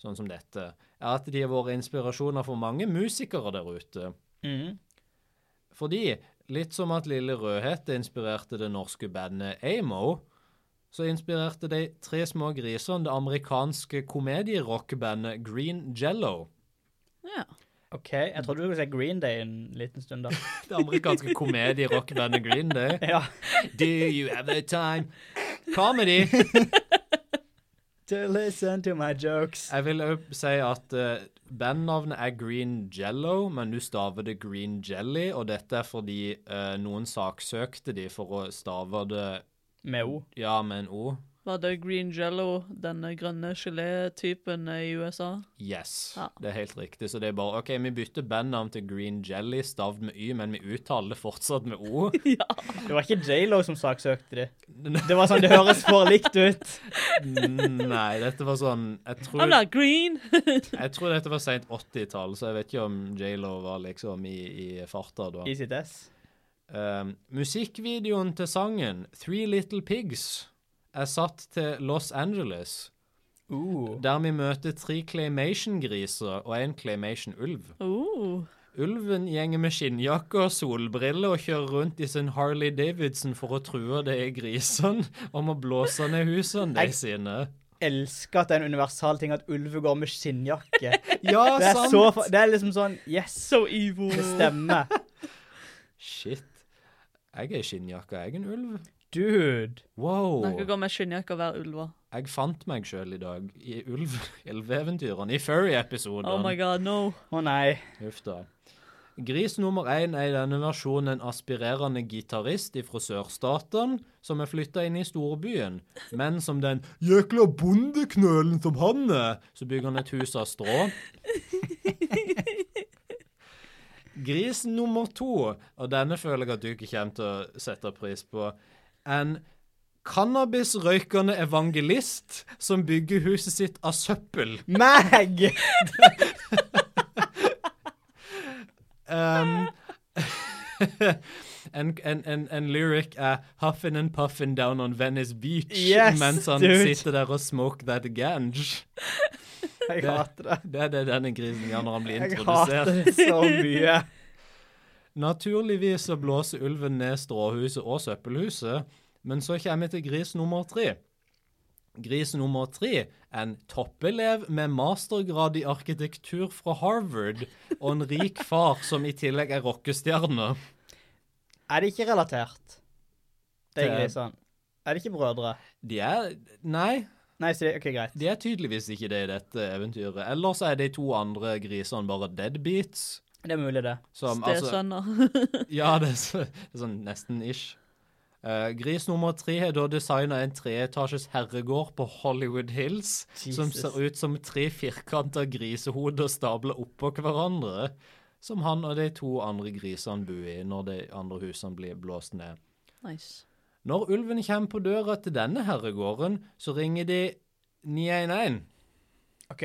[SPEAKER 1] sånn som dette, er at de har vært inspirasjoner for mange musikere der ute.
[SPEAKER 4] Mhm.
[SPEAKER 1] Fordi, litt som at Lille Rødhette inspirerte det norske bandet Amo, så inspirerte de Tre små grisene det amerikanske komedierockbandet Green Jello.
[SPEAKER 2] Ja.
[SPEAKER 4] OK. Jeg trodde du skulle si Green Day en liten [laughs] stund, da.
[SPEAKER 1] Det amerikanske komedierockbandet Green Day.
[SPEAKER 4] ja.
[SPEAKER 1] Do you have the time? Comedy!
[SPEAKER 4] To listen to my jokes.
[SPEAKER 1] Jeg vil òg si at eh, bandnavnet er Green Jello, men du staver det Green Jelly, og dette er fordi eh, noen saksøkte de for å stave det
[SPEAKER 4] Med O.
[SPEAKER 1] ja med en O.
[SPEAKER 2] Var det green jello, denne grønne gelé-typen i USA?
[SPEAKER 1] Yes,
[SPEAKER 2] Ja.
[SPEAKER 1] det er helt riktig. Så det er bare OK, vi bytter bandnavn til Green Jelly, stavd med Y, men vi uttaler det fortsatt med O.
[SPEAKER 4] Det var ikke J.Lo som saksøkte de.
[SPEAKER 1] N-
[SPEAKER 4] Det var sånn det høres for likt ut.
[SPEAKER 1] Nei, dette var sånn Jeg
[SPEAKER 2] I'm
[SPEAKER 1] tror,
[SPEAKER 2] not green!
[SPEAKER 1] jeg tror dette var seint 80-tall, så jeg vet ikke om J.Lo var liksom i, i farta da.
[SPEAKER 4] Easy Tess.
[SPEAKER 1] Um, musikkvideoen til sangen Three Little Pigs er satt til Los Angeles,
[SPEAKER 4] Uh.
[SPEAKER 1] der vi møter tre claymation-griser og en claymation-ulv.
[SPEAKER 2] Oh.
[SPEAKER 1] Ulven gjenger med skinnjakke og solbriller og kjører rundt i sin Harley Davidson for å true de grisene om å blåse ned husene de
[SPEAKER 4] Jeg-
[SPEAKER 1] sine.
[SPEAKER 4] Elsker at det er en universal ting at ulver går med skinnjakke.
[SPEAKER 1] Ja,
[SPEAKER 4] [laughs] Det er,
[SPEAKER 1] sant!
[SPEAKER 4] så, fa- det er liksom sånn Yes,
[SPEAKER 2] So evil.
[SPEAKER 4] det stemmer.
[SPEAKER 1] Shit. Jeg er i skinnjakke, jeg er en ulv.
[SPEAKER 4] Dude.
[SPEAKER 2] Nå kan jeg
[SPEAKER 1] Wow.
[SPEAKER 2] gå med skinnjakke og være ulver.
[SPEAKER 1] Jeg fant meg sjøl i dag, i [laughs] ulv- ulveeventyrene, i furry-episoden.
[SPEAKER 2] Oh my god, no.
[SPEAKER 4] Å nei.
[SPEAKER 1] Uff da. Gris nummer én er i denne versjonen en aspirerende gitarist fra sørstaten som er flytta inn i storbyen, men som den jækla bondeknølen som han er, så bygger han et hus av strå. Gris nummer to, og denne føler jeg at du ikke kommer til å sette pris på, en cannabisrøykende evangelist som bygger huset sitt av søppel.
[SPEAKER 4] Meg!
[SPEAKER 1] Um, [laughs] en, en, en, en lyric er 'Huffin' and puffin' down on Venice Beach'
[SPEAKER 4] Yes,
[SPEAKER 1] mens han
[SPEAKER 4] dude.
[SPEAKER 1] sitter der og smoke that gange.
[SPEAKER 4] Jeg hater det.
[SPEAKER 1] Det er det denne grisen gjør når han blir
[SPEAKER 4] Jeg hater
[SPEAKER 1] introdusert.
[SPEAKER 4] det så mye.
[SPEAKER 1] Naturligvis så blåser ulven ned stråhuset og søppelhuset, men så kommer vi til gris nummer tre. Gris nummer tre, en toppelev med mastergrad i arkitektur fra Harvard, og en rik far som i tillegg er rockestjerne.
[SPEAKER 4] Er det ikke relatert? De
[SPEAKER 1] Det-
[SPEAKER 4] grisene. sånn. Er det ikke brødre?
[SPEAKER 1] De er Nei,
[SPEAKER 4] Nei, så det, ok, greit.
[SPEAKER 1] de er tydeligvis ikke det i dette eventyret. Ellers er de to andre grisene bare deadbeats.
[SPEAKER 4] Det er mulig, det.
[SPEAKER 1] Som, altså,
[SPEAKER 2] [laughs] Stesønner.
[SPEAKER 1] ja, det er, så, det er sånn nesten ish. Eh, gris nummer tre har da designa en treetasjes herregård på Hollywood Hills som
[SPEAKER 4] Jesus.
[SPEAKER 1] ser ut som tre firkanta grisehoder stabla oppå hverandre, som han og de to andre grisene bor i når de andre husene blir blåst ned.
[SPEAKER 2] Nice.
[SPEAKER 1] Når ulven kommer på døra til denne herregården, så ringer de 911.
[SPEAKER 4] OK.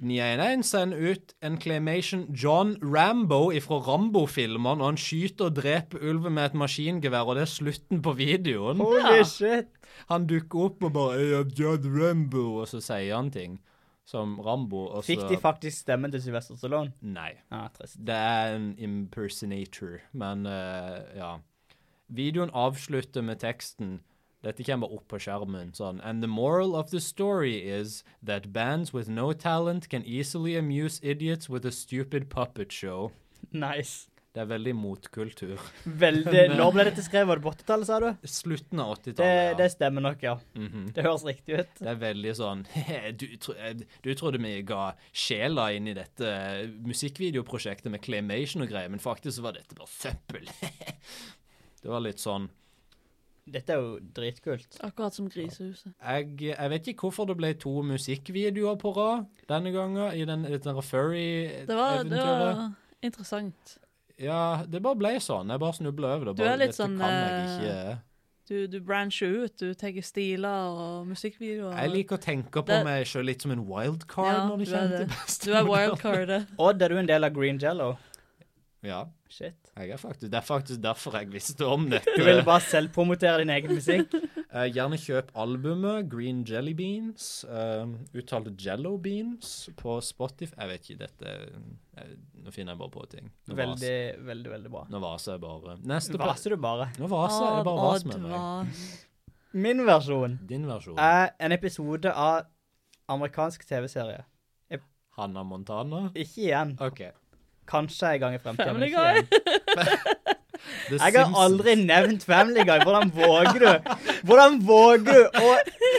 [SPEAKER 1] 911 sender ut en claimation John Rambo ifra Rambo-filmene, og han skyter og dreper ulven med et maskingevær, og det er slutten på videoen.
[SPEAKER 4] Holy shit.
[SPEAKER 1] Han dukker opp og bare «Jeg er John Rambo, og så sier han ting som Rambo, og så
[SPEAKER 4] Fikk de faktisk stemmen til Sylvester Stallone?
[SPEAKER 1] Nei.
[SPEAKER 4] Ja, trist.
[SPEAKER 1] Det er en impersonator, men eh, ja. Videoen avslutter med teksten. Dette kommer opp på skjermen sånn. And the moral of the story is that bands with no talent can easily amuse idiots with a stupid puppet show.
[SPEAKER 4] Nice.
[SPEAKER 1] Det er veldig motkultur.
[SPEAKER 4] [laughs] Veldig. Når ble dette skrevet? Var det på 80-tallet, sa du?
[SPEAKER 1] Slutten av
[SPEAKER 4] Det,
[SPEAKER 1] 80-tallet.
[SPEAKER 4] det
[SPEAKER 1] ja.
[SPEAKER 4] stemmer nok, ja.
[SPEAKER 1] Mhm.
[SPEAKER 4] Det høres riktig ut.
[SPEAKER 1] Det er veldig sånn [laughs] du, tro, eh, du trodde vi ga sjela inn i dette eh, musikkvideoprosjektet med claimation og greier, men faktisk så var dette bare søppel. [laughs] Det var litt sånn
[SPEAKER 4] Dette er jo dritkult.
[SPEAKER 2] Akkurat som grisehuset.
[SPEAKER 1] jeg, jeg vet ikke hvorfor det ble to musikkvideoer på rad denne gangen, i den, sånn dette
[SPEAKER 2] Det var, det
[SPEAKER 1] furry-eventyret.
[SPEAKER 2] var interessant.
[SPEAKER 1] Ja, det bare ble sånn. Jeg bare snubla over det.
[SPEAKER 2] Du
[SPEAKER 1] Bare,
[SPEAKER 2] er litt
[SPEAKER 1] dette
[SPEAKER 2] sånn,
[SPEAKER 1] kan jeg ikke
[SPEAKER 2] Du, du brancher ut. Du tar stiler og musikkvideoer.
[SPEAKER 1] Jeg liker å tenke på
[SPEAKER 2] Det-
[SPEAKER 1] meg sjøl litt som en wildcard
[SPEAKER 2] Ja,
[SPEAKER 1] når det
[SPEAKER 2] du er
[SPEAKER 1] kommer
[SPEAKER 2] det.
[SPEAKER 1] til beste
[SPEAKER 2] Du er
[SPEAKER 1] modell. [laughs]
[SPEAKER 2] wildcardet.
[SPEAKER 4] Odd, er du en del av Green Jello?
[SPEAKER 1] Ja,
[SPEAKER 4] Shit.
[SPEAKER 1] jeg er faktisk, det er faktisk derfor jeg visste
[SPEAKER 2] [laughs]
[SPEAKER 1] om dette.
[SPEAKER 4] Du ville bare selvpromotere din egen musikk?
[SPEAKER 1] Eh, gjerne kjøp albumet Green Jelly Beans, eh, uttalt Jello Beans, på Spotify. Jeg vet ikke, dette eh, Nå finner jeg bare på ting. Nå
[SPEAKER 4] Veldig, veldig, veldig bra.
[SPEAKER 1] vas- Nå vaser jeg bare. Neste på-
[SPEAKER 4] Vaser du bare?
[SPEAKER 1] Nå vaser jeg. jeg Bare vas med meg.
[SPEAKER 4] Min versjon
[SPEAKER 1] Din versjon.
[SPEAKER 4] er en episode av amerikansk TV-serie.
[SPEAKER 1] Hanna Montana.
[SPEAKER 4] Ikke igjen.
[SPEAKER 1] OK.
[SPEAKER 4] Kanskje en gang i fremtiden. men
[SPEAKER 2] Family
[SPEAKER 4] ikke igjen.
[SPEAKER 1] The
[SPEAKER 4] Jeg har aldri nevnt Family Guy. Hvordan våger du? Hvordan våger du å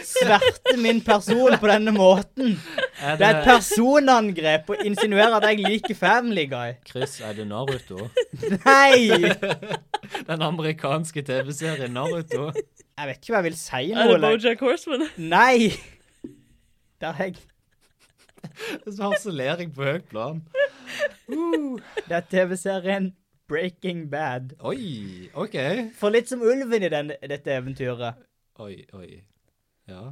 [SPEAKER 4] sverte min person på denne måten?
[SPEAKER 1] er
[SPEAKER 4] Det er et
[SPEAKER 1] det,
[SPEAKER 4] personangrep å insinuere at jeg liker Family Guy.
[SPEAKER 1] Chris, er det Naruto? [laughs]
[SPEAKER 4] Nei!
[SPEAKER 1] Den amerikanske TV-serien Naruto?
[SPEAKER 4] Jeg vet ikke hva jeg vil si nå.
[SPEAKER 2] Er det
[SPEAKER 4] eller-
[SPEAKER 2] Bojack Horseman?
[SPEAKER 4] Nei! Der er jeg.
[SPEAKER 1] Så harselering på høyt plan.
[SPEAKER 4] Det er TV-serien Breaking Bad.
[SPEAKER 1] Oi, OK.
[SPEAKER 4] For litt som ulven i den, dette eventyret,
[SPEAKER 1] Oi, oi. Ja.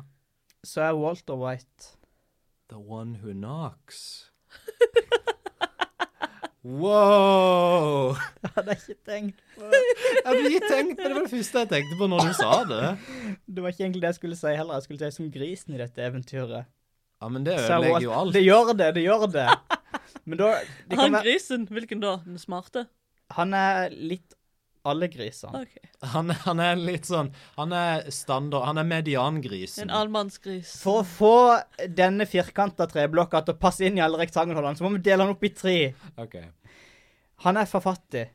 [SPEAKER 4] så er Walter White [laughs]
[SPEAKER 1] The one who knocks. Wow!
[SPEAKER 4] Hadde jeg ikke tenkt på.
[SPEAKER 1] Jeg hadde ikke tenkt på det, det var det første jeg tenkte på når du sa det.
[SPEAKER 4] Det var ikke egentlig det jeg skulle si heller. Jeg skulle si som grisen i dette eventyret.
[SPEAKER 1] Ja, men det
[SPEAKER 4] Så jeg
[SPEAKER 1] ødelegger
[SPEAKER 4] var-
[SPEAKER 1] jo alt.
[SPEAKER 4] Det gjør det, det gjør det. Men da det kan
[SPEAKER 2] Han
[SPEAKER 4] være,
[SPEAKER 2] grisen? Hvilken da? Den smarte?
[SPEAKER 4] Han er litt alle grisene.
[SPEAKER 2] Ok.
[SPEAKER 1] Han, han er litt sånn Han er standard Han er mediangrisen.
[SPEAKER 2] En allmannsgris.
[SPEAKER 4] For å få denne firkanta treblokka til å passe inn i alle rektangelhullene, så må vi dele den opp i tre.
[SPEAKER 1] OK.
[SPEAKER 4] Han er for fattig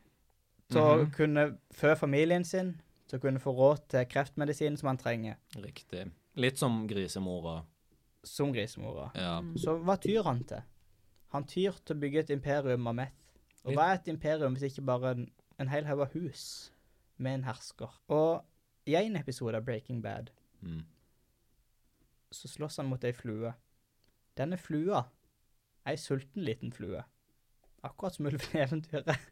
[SPEAKER 4] til å kunne fø familien sin, til å kunne få råd til kreftmedisinen som han trenger,
[SPEAKER 1] Riktig. Litt som grisemora.
[SPEAKER 4] som grisemora.
[SPEAKER 1] Ja.
[SPEAKER 4] Så hva tyr han til? Han tyr til å bygge et imperium av meth. Og hva er et imperium hvis ikke bare en, en hel haug av hus med en hersker? Og i en episode av Breaking Bad
[SPEAKER 1] Mm.
[SPEAKER 4] så slåss han mot ei flue. Denne flua er ei sulten liten flue. Akkurat som ulven i eventyret.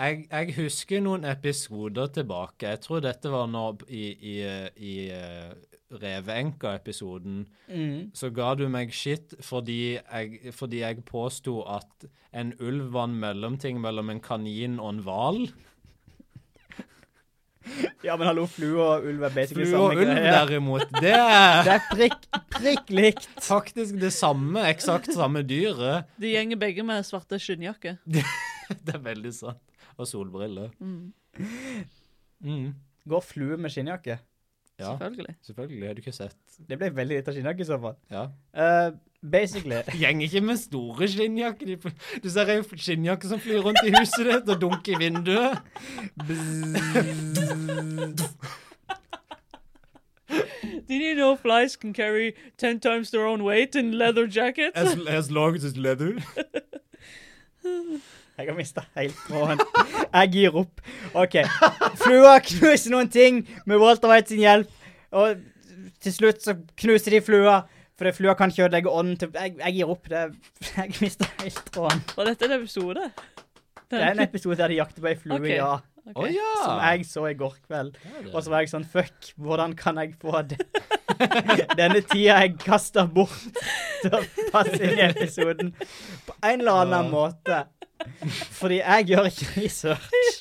[SPEAKER 1] Jeg, jeg husker noen episoder tilbake. Jeg tror dette var nå i, i, i eh, Revenka-episoden. Så ga du meg shit fordi jeg, fordi jeg påsto at en ulv var en mellomting mellom en kanin og en hval.
[SPEAKER 4] Ja, men hallo, flue og ulv er basically
[SPEAKER 1] Flue
[SPEAKER 4] samme
[SPEAKER 1] og ulv,
[SPEAKER 4] greie.
[SPEAKER 1] derimot, det er [laughs]
[SPEAKER 4] Det er prikk, prikk likt.
[SPEAKER 1] faktisk det samme, eksakt samme dyret.
[SPEAKER 2] De gjenger begge med svarte skinnjakker.
[SPEAKER 1] [laughs] Det er veldig sant. Og solbriller.
[SPEAKER 2] Mm,
[SPEAKER 1] Mm.
[SPEAKER 4] Går flue med skinnjakke?
[SPEAKER 1] Ja,
[SPEAKER 2] Selvfølgelig.
[SPEAKER 1] selvfølgelig. Har du ikke sett?
[SPEAKER 4] Det ble veldig lite skinnjakke i så fall.
[SPEAKER 1] Ja.
[SPEAKER 4] Eh, basically
[SPEAKER 1] Gjeng ikke med store skinnjakker. De fl- Du ser ei skinnjakke som flyr rundt i huset ditt og dunker i vinduet.
[SPEAKER 2] Did you know flies can carry ten times their own weight in leather jackets?
[SPEAKER 1] As, as long as it's leather.
[SPEAKER 4] Jeg har mista helt tråden. Jeg gir opp. OK. Flua knuser noen ting med Walter White sin hjelp, og til slutt så knuser de flua. Fordi flua kan ikke ødelegge ånden til Jeg, jeg gir opp. Det, [laughs] jeg mista helt tråden.
[SPEAKER 2] Var dette en episode?
[SPEAKER 4] Det er en episode der de jakter på ei flue,
[SPEAKER 2] Ok.
[SPEAKER 4] ja.
[SPEAKER 2] Ok.
[SPEAKER 1] Å ja!
[SPEAKER 4] Som jeg så i går kveld. Og så var jeg sånn Fuck, hvordan kan jeg få det? [laughs] Denne tida jeg kaster bort til å passe inn i episoden på en eller annen måte. Fordi jeg gjør ikke research.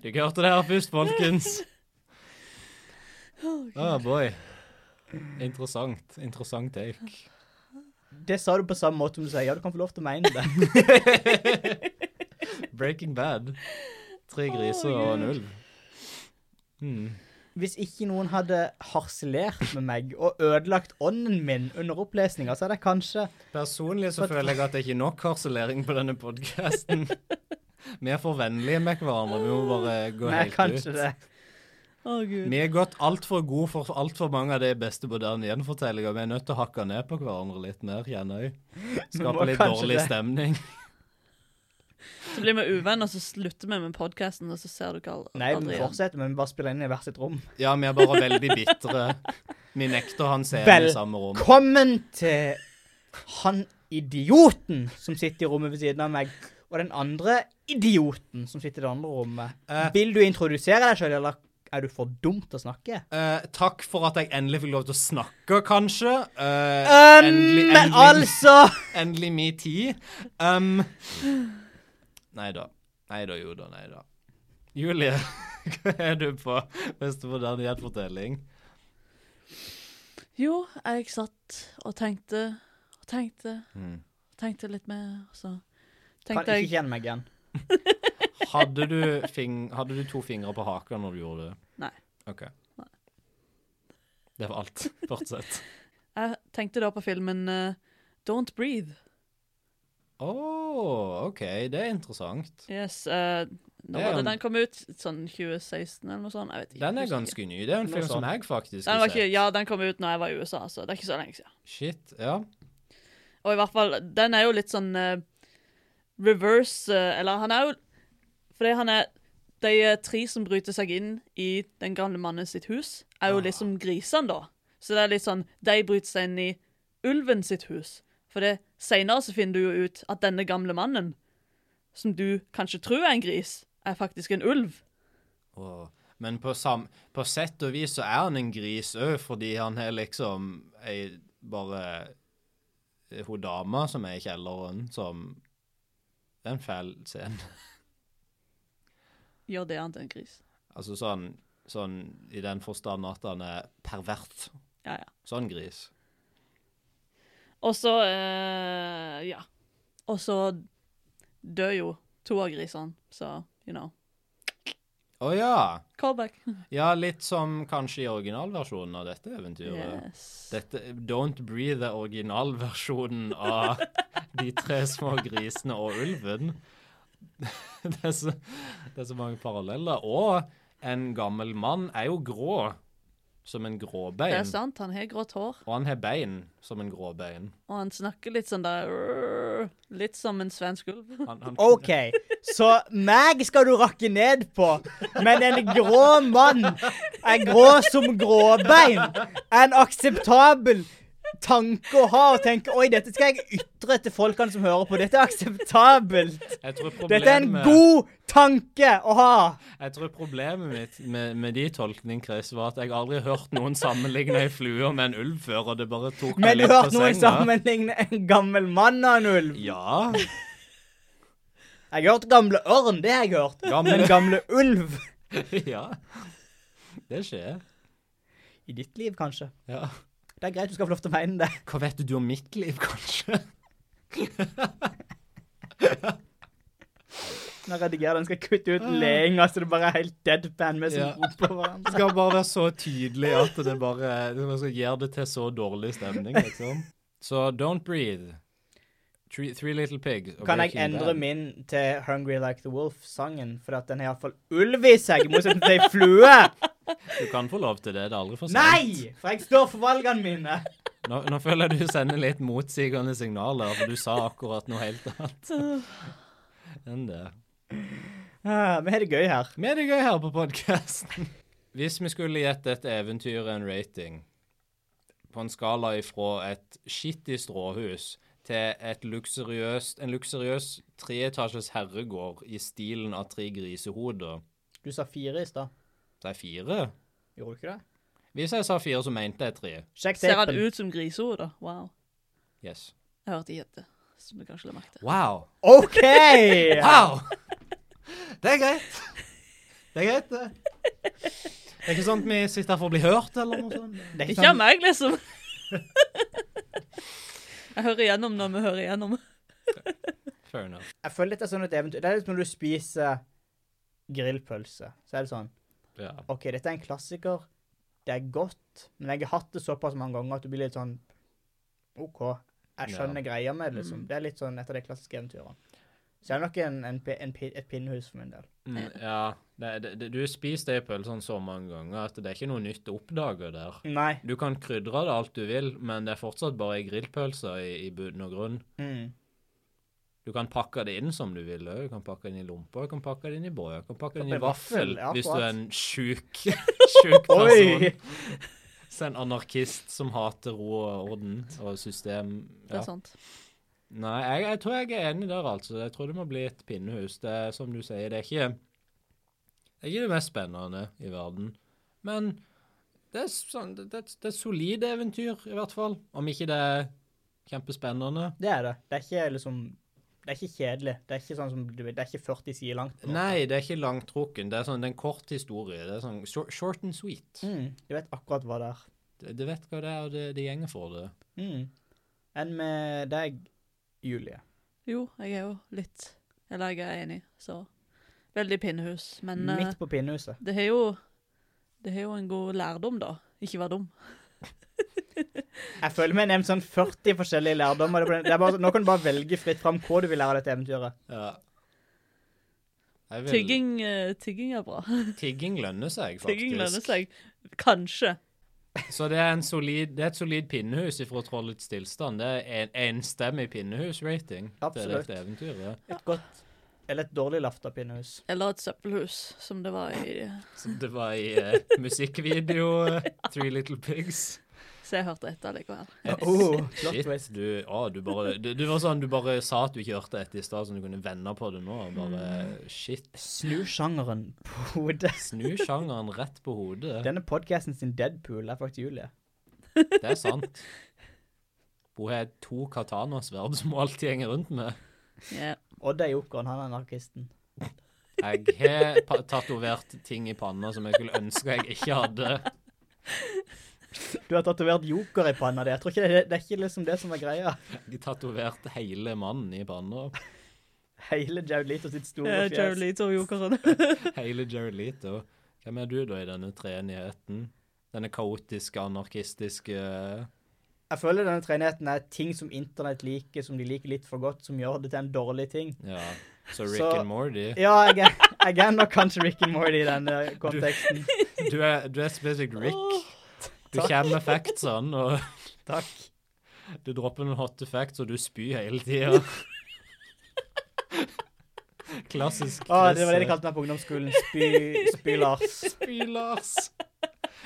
[SPEAKER 1] Du ikke hørte det her først, folkens. Ah, boy. Interessant. Interessant take.
[SPEAKER 4] Det sa du på samme måte som du sier. Ja, du kan få lov til å mene det.
[SPEAKER 1] [laughs] Breaking Bad. Tre griser og en ulv. Mm.
[SPEAKER 4] Hvis ikke noen hadde harselert med meg og ødelagt ånden min under opplesninga, så hadde jeg kanskje
[SPEAKER 1] Personlig så føler jeg at det er ikke nok harselering på denne podkasten.
[SPEAKER 4] [laughs]
[SPEAKER 1] Vi er for vennlige med hverandre. Vi må bare gå
[SPEAKER 4] Nei,
[SPEAKER 1] helt ut.
[SPEAKER 4] kanskje det.
[SPEAKER 2] Å, gud.
[SPEAKER 1] Vi er gått altfor gode for altfor mange av de beste moderne gjenfortellinger. Vi er nødt til å hakke ned på hverandre litt mer, kjenner jeg.
[SPEAKER 4] må
[SPEAKER 1] Skape litt
[SPEAKER 4] kanskje
[SPEAKER 1] dårlig
[SPEAKER 4] det.
[SPEAKER 1] stemning.
[SPEAKER 2] Så blir vi uvenner, og så slutter vi med podkasten, og så ser du ikke al-
[SPEAKER 4] Nei,
[SPEAKER 2] aldri
[SPEAKER 4] vi
[SPEAKER 2] igjen.
[SPEAKER 4] fortsetter, men vi bare spiller inn i hvert sitt rom.
[SPEAKER 1] Ja, vi er bare veldig bitre. Vi nekter han scenen
[SPEAKER 4] Vel.
[SPEAKER 1] i samme rom.
[SPEAKER 4] Velkommen til han idioten som sitter i rommet ved siden av meg, og den andre idioten som sitter i det andre rommet.
[SPEAKER 1] Eh.
[SPEAKER 4] Vil du introdusere deg sjøl, eller er du for dum til å snakke?
[SPEAKER 1] Eh, takk for at jeg endelig fikk lov til å snakke, kanskje. Eh,
[SPEAKER 4] Um,
[SPEAKER 1] endelig,
[SPEAKER 4] men
[SPEAKER 1] endelig,
[SPEAKER 4] altså
[SPEAKER 1] endelig min tid. Um, nei da. Nei da, jo da, nei da. Julie, [laughs] hva er du på beste moderne gjenfortelling?
[SPEAKER 2] Jo, jeg satt og tenkte og tenkte og tenkte litt mer, og så
[SPEAKER 4] Kan
[SPEAKER 2] tenkte
[SPEAKER 4] ikke
[SPEAKER 2] jeg
[SPEAKER 4] kjenne meg igjen.
[SPEAKER 1] Hadde du, fing hadde du to fingre på haka når du gjorde det?
[SPEAKER 2] Nei.
[SPEAKER 1] OK. Det var alt. Fortsett.
[SPEAKER 2] Jeg tenkte da på filmen eh, Don't Breathe.
[SPEAKER 1] Å, OK. Det er interessant.
[SPEAKER 2] Yes. eh,
[SPEAKER 1] Det
[SPEAKER 2] når
[SPEAKER 1] er en-
[SPEAKER 2] var det den kom ut? Sånn 2016 eller noe sånt? Jeg vet ikke.
[SPEAKER 1] Den er
[SPEAKER 2] husker ikke.
[SPEAKER 1] ganske ny. Det er en
[SPEAKER 4] Noe
[SPEAKER 1] film som
[SPEAKER 4] sånt.
[SPEAKER 1] jeg faktisk
[SPEAKER 2] Den
[SPEAKER 1] har
[SPEAKER 2] var ikke,
[SPEAKER 1] sett.
[SPEAKER 2] ja, den kom ut når jeg var i USA, så det er ikke så lenge siden.
[SPEAKER 1] Shit. Ja.
[SPEAKER 2] Og i hvert fall, den er jo litt sånn eh, reverse eh, Eller han er jo Fordi han er De eh, tre som bryter seg inn i den gamle mannen sitt hus, er jo liksom grisene, da. Så det er litt sånn De bryter seg inn i ulven sitt hus. For det seinere så finner du jo ut at denne gamle mannen, som du kanskje tror er en gris, er faktisk en ulv.
[SPEAKER 1] Åh. Men på, sam på sett og vis så er han en gris òg, fordi han har liksom ei bare eh, Hun dama som er i kjelleren, som Det er en fæl scene.
[SPEAKER 2] Gjør det annet enn gris.
[SPEAKER 1] Altså sånn, sånn i den forstand at han er pervert.
[SPEAKER 2] Ja, ja.
[SPEAKER 1] Sånn gris.
[SPEAKER 2] Og så eh, Ja. Og så dør jo to av grisene, så you know.
[SPEAKER 1] Å ja.
[SPEAKER 2] Callback.
[SPEAKER 1] Ja, litt som kanskje i originalversjonen av dette eventyret.
[SPEAKER 2] Yes.
[SPEAKER 1] Dette, Don't Breathe er originalversjonen av De tre små grisene og ulven. [laughs] Det er så, det er så mange paralleller. Og en gammel mann er jo grå. som en
[SPEAKER 2] Det er
[SPEAKER 1] gråbein.
[SPEAKER 2] sant, han har grått hår,
[SPEAKER 1] Og han har bein som en gråbein.
[SPEAKER 2] og han snakker litt sånn der Litt som en svensk ulv.
[SPEAKER 1] Han, han,
[SPEAKER 4] OK, så meg skal du rakke ned på, men en grå mann er grå som gråbein. Er en akseptabel tanke å ha og tenke Oi, dette skal jeg ytre til folkene som hører på. Dette er akseptabelt.
[SPEAKER 1] jeg tror
[SPEAKER 4] Dette er en
[SPEAKER 1] problemet-
[SPEAKER 4] god tanke å ha.
[SPEAKER 1] Jeg tror problemet mitt med, med de tolkning, Chris, var at jeg aldri har hørt noen sammenligne ei flue med en ulv før, og det bare tok meg
[SPEAKER 4] Men du
[SPEAKER 1] litt på
[SPEAKER 4] hørte noen
[SPEAKER 1] senga.
[SPEAKER 4] sammenligne en gammel mann og en ulv.
[SPEAKER 1] Ja. [laughs]
[SPEAKER 4] Jeg har hørt gamle ørn, det har jeg hørt.
[SPEAKER 1] Gamle,
[SPEAKER 4] Men gamle ulv
[SPEAKER 1] ja. Det skjer.
[SPEAKER 4] I ditt liv, kanskje.
[SPEAKER 1] Ja.
[SPEAKER 4] Det er greit, du skal få lov til å mene det.
[SPEAKER 1] Hva vet du om mitt liv, kanskje?
[SPEAKER 4] Når jeg redigerer den, skal jeg kutte ut leinga, så det bare er helt deadpan med som
[SPEAKER 1] Ja.
[SPEAKER 4] roper på hverandre.
[SPEAKER 1] Det [laughs] skal bare være så tydelig at det bare det bare skal gjøre det til så dårlig stemning, liksom. Så Don't Breathe, Three, three Little Pigs og
[SPEAKER 4] Kan jeg
[SPEAKER 1] Breaking
[SPEAKER 4] endre
[SPEAKER 1] Bad.
[SPEAKER 4] min til Hungry Like The Wolf-sangen? For at den har iallfall ulv i seg, i motsetning til ei flue.
[SPEAKER 1] Du kan få lov til det. Det er aldri for sent.
[SPEAKER 4] Nei! For jeg står for valgene mine.
[SPEAKER 1] Nå, nå føler jeg du sender litt motsigende signaler, for du sa akkurat noe helt annet enn det.
[SPEAKER 4] Ah, Vi har det gøy her.
[SPEAKER 1] Vi har det gøy her på podkasten. Hvis vi skulle gitt dette eventyret en rating på en skala ifra et skittig stråhus til et luksuriøst, en luksuriøs treetasjes herregård i stilen av tre grisehoder,
[SPEAKER 4] Du sa fire i stad.
[SPEAKER 1] så er fire.
[SPEAKER 4] Gjorde du ikke det?
[SPEAKER 1] Hvis jeg sa fire, så mente jeg tre.
[SPEAKER 4] Sjekk
[SPEAKER 2] [laughs] Ser han
[SPEAKER 4] tapen.
[SPEAKER 2] ut som grisehode? da? Wow.
[SPEAKER 1] Yes.
[SPEAKER 2] Jeg hørte ikke etter, som du kanskje la merke til.
[SPEAKER 1] Wow.
[SPEAKER 4] OK!
[SPEAKER 1] Wow! Det er greit. Det er greit, det. Det er ikke sånn at vi sitter her for å bli hørt, eller noe sånt.
[SPEAKER 4] Det er ikke
[SPEAKER 2] Ikke av
[SPEAKER 4] sånn,
[SPEAKER 2] meg, liksom. [laughs] Jeg hører igjennom når vi hører igjennom.
[SPEAKER 1] Fair enough.
[SPEAKER 4] jeg føler dette er sånn et eventyr. Det er litt som når du spiser grillpølse. Så er det sånn
[SPEAKER 1] Ja.
[SPEAKER 4] OK, dette er en klassiker. Det er godt, men jeg har hatt det såpass mange ganger at du blir litt sånn OK, jeg skjønner greia med det, liksom. Det er litt sånn et av de klassiske eventyrene. Så det er nok en, en, pi- en, pi- et pinnehus for min del.
[SPEAKER 1] Mm, ja. Det, det, det, du spiser de pølsene sånn så mange ganger at det er ikke noe nytt å oppdage der.
[SPEAKER 4] Nei.
[SPEAKER 1] Du kan krydre det alt du vil, men det er fortsatt bare ei grillpølse i, i bunn og grunn.
[SPEAKER 4] Mm.
[SPEAKER 1] Du kan pakke det inn som du vil. Du kan pakke det inn i lomper, du kan pakke det inn i brød, du kan pakke det inn i
[SPEAKER 4] Pakke vaffel,
[SPEAKER 1] vaffel
[SPEAKER 4] ja,
[SPEAKER 1] hvis du
[SPEAKER 4] akkurat.
[SPEAKER 1] er en sjuk, [laughs] sjuk person.
[SPEAKER 4] Oi!
[SPEAKER 1] Så en anarkist som hater ro og orden og system.
[SPEAKER 2] Det
[SPEAKER 1] Ja.
[SPEAKER 2] er sant.
[SPEAKER 1] Nei, jeg, jeg tror jeg er enig der, altså. Jeg tror det må bli et pinnehus. Det er som du sier, det er ikke Det er ikke det mest spennende i verden. Men det er, sånn, det, det, det er et solid eventyr, i hvert fall. Om ikke det er kjempespennende.
[SPEAKER 4] Det er det. Det er ikke liksom Det er ikke kjedelig. Det er ikke sånn som du vet, Det er ikke 40 sider langt. på en måte.
[SPEAKER 1] Nei, det er ikke langtrukken. Det er sånn, det er en kort historie. Det er sånn short, short and sweet.
[SPEAKER 4] Mm. Du vet akkurat hva det er.
[SPEAKER 1] Det, det vet hva det er, og det, det gjenger for det.
[SPEAKER 4] Mm. Enn med deg, Julie.
[SPEAKER 2] Jo, jeg er jo litt Eller jeg er enig, så Veldig pinnehus. Men eh,
[SPEAKER 4] Midt på pinnehuset.
[SPEAKER 2] det har jo Det har jo en god lærdom, da. Ikke vær dum.
[SPEAKER 4] Jeg føler meg nevnt sånn 40 forskjellige lærdommer. Det er på den- Det er bare, sånn- nå kan du bare velge fritt fram hva du vil lære av dette eventyret.
[SPEAKER 1] Ja. Jeg vil-
[SPEAKER 2] Tygging, eh, tygging er bra. [laughs]
[SPEAKER 1] Tigging lønner seg, faktisk.
[SPEAKER 2] Tygging lønner seg. Kanskje.
[SPEAKER 1] Så det er, en solid, det er et solid pinnehus ifra Trollets tilstand. Det er en enstemmig pinnehus-rating. Det er
[SPEAKER 4] Absolutt.
[SPEAKER 1] dette eventyret.
[SPEAKER 4] Et godt eller et dårlig lafta pinnehus.
[SPEAKER 2] Eller et søppelhus, som det var i
[SPEAKER 1] Som det var i eh, musikkvideo eh, Three Little Pigs.
[SPEAKER 2] Så jeg hørte etter likevel.
[SPEAKER 4] Oh, plot
[SPEAKER 1] Shit,
[SPEAKER 4] twist.
[SPEAKER 1] du, å, du bare du, du var sånn, du bare sa at du ikke hørte etter i stad, så du kunne vende på det nå. og
[SPEAKER 4] Mm.
[SPEAKER 1] Bare shit.
[SPEAKER 4] Snu sjangeren på hodet.
[SPEAKER 1] Snu sjangeren rett på hodet.
[SPEAKER 4] Denne podcasten sin Deadpool er faktisk Julie.
[SPEAKER 1] Det er sant. Hun har to katanasverd som hun alltid henger rundt med.
[SPEAKER 2] Ja.
[SPEAKER 4] Odd er jokeren, han er anarkisten.
[SPEAKER 1] Jeg har pa- tatovert ting i panna som jeg skulle ønske jeg ikke hadde.
[SPEAKER 4] Du har tatovert joker i panna di. Jeg tror ikke det, det er ikke liksom det som er greia.
[SPEAKER 1] Jeg tatoverte hele mannen i panna.
[SPEAKER 4] Hele Jared Leto sitt store
[SPEAKER 2] Eh, Jared
[SPEAKER 4] fjes.
[SPEAKER 2] Leto og Jokeren.
[SPEAKER 1] Hele Jared Leto. Hvem er du da i denne treenigheten? Denne kaotiske, anarkistiske
[SPEAKER 4] Jeg føler denne treenigheten er ting som internett liker, som de liker litt for godt, som gjør det til en dårlig ting.
[SPEAKER 1] Ja, så Rick
[SPEAKER 4] Så-
[SPEAKER 1] and Mordy.
[SPEAKER 4] Ja, jeg er, jeg er nok kanskje Rick and Morty i denne eh, konteksten.
[SPEAKER 1] Du er, du er spesifikt Rick. Du kommer med factsene, og
[SPEAKER 4] Takk.
[SPEAKER 1] du dropper noen hotte facts, og du spyr hele
[SPEAKER 4] [laughs]
[SPEAKER 1] tida. Klassisk
[SPEAKER 4] Å, det var det de kalte meg på ungdomsskolen. Spy, spy Lars.
[SPEAKER 1] Spy-Lars.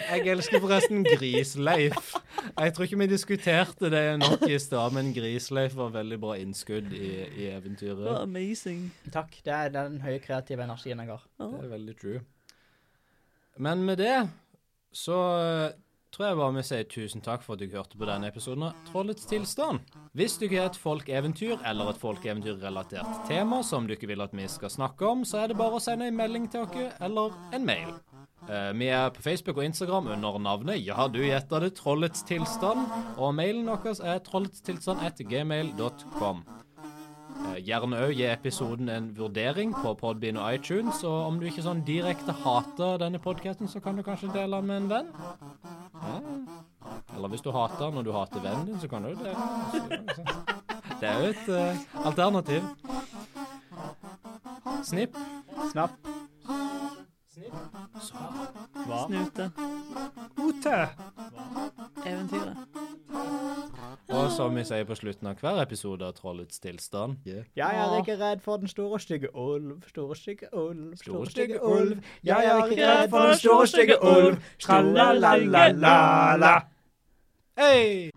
[SPEAKER 1] Jeg elsker forresten Grisleif. Jeg tror ikke vi diskuterte det nok i stad, men Grisleif var veldig bra innskudd i, i
[SPEAKER 2] Det var
[SPEAKER 1] eventyret.
[SPEAKER 2] amazing.
[SPEAKER 4] Takk. Det er den høye kreative energien jeg har.
[SPEAKER 1] Det er veldig true. Men med det så eh, tror jeg bare vi sier tusen takk for at du hørte på denne episoden av Trollets tilstand. Hvis du ikke har et folkeeventyr eller et folkeeventyrrelatert tema som du ikke vil at vi skal snakke om, så er det bare å sende en melding til oss eller en mail. Eh, vi er på Facebook og Instagram under navnet Ja, du gjetta det, Trollets tilstand. Og mailen vår er trolletstilstand.gmail.com. Eh, Gjerne òg gi episoden en vurdering på Podbean og iTunes. Og om du ikke sånn direkte hater denne podkasten, så kan du kanskje dele den med en venn. Ja. Eller hvis du hater den, og du hater vennen din, så kan du jo dele den. Så- Det er jo et eh, alternativ. Snipp.
[SPEAKER 4] Snapp. Hva?
[SPEAKER 2] Snute.
[SPEAKER 5] Ute.
[SPEAKER 2] Eventyret.
[SPEAKER 1] Og som vi sier på slutten av hver episode av Trollets tilstand
[SPEAKER 4] Jeg er ikke redd for den store, stygge ulv. Store, stygge ulv. Store, stygge
[SPEAKER 1] stygge
[SPEAKER 4] ulv. Jeg er ikke redd for den store, stygge ulv. Tra-la-la-la-la-la.
[SPEAKER 1] Hei!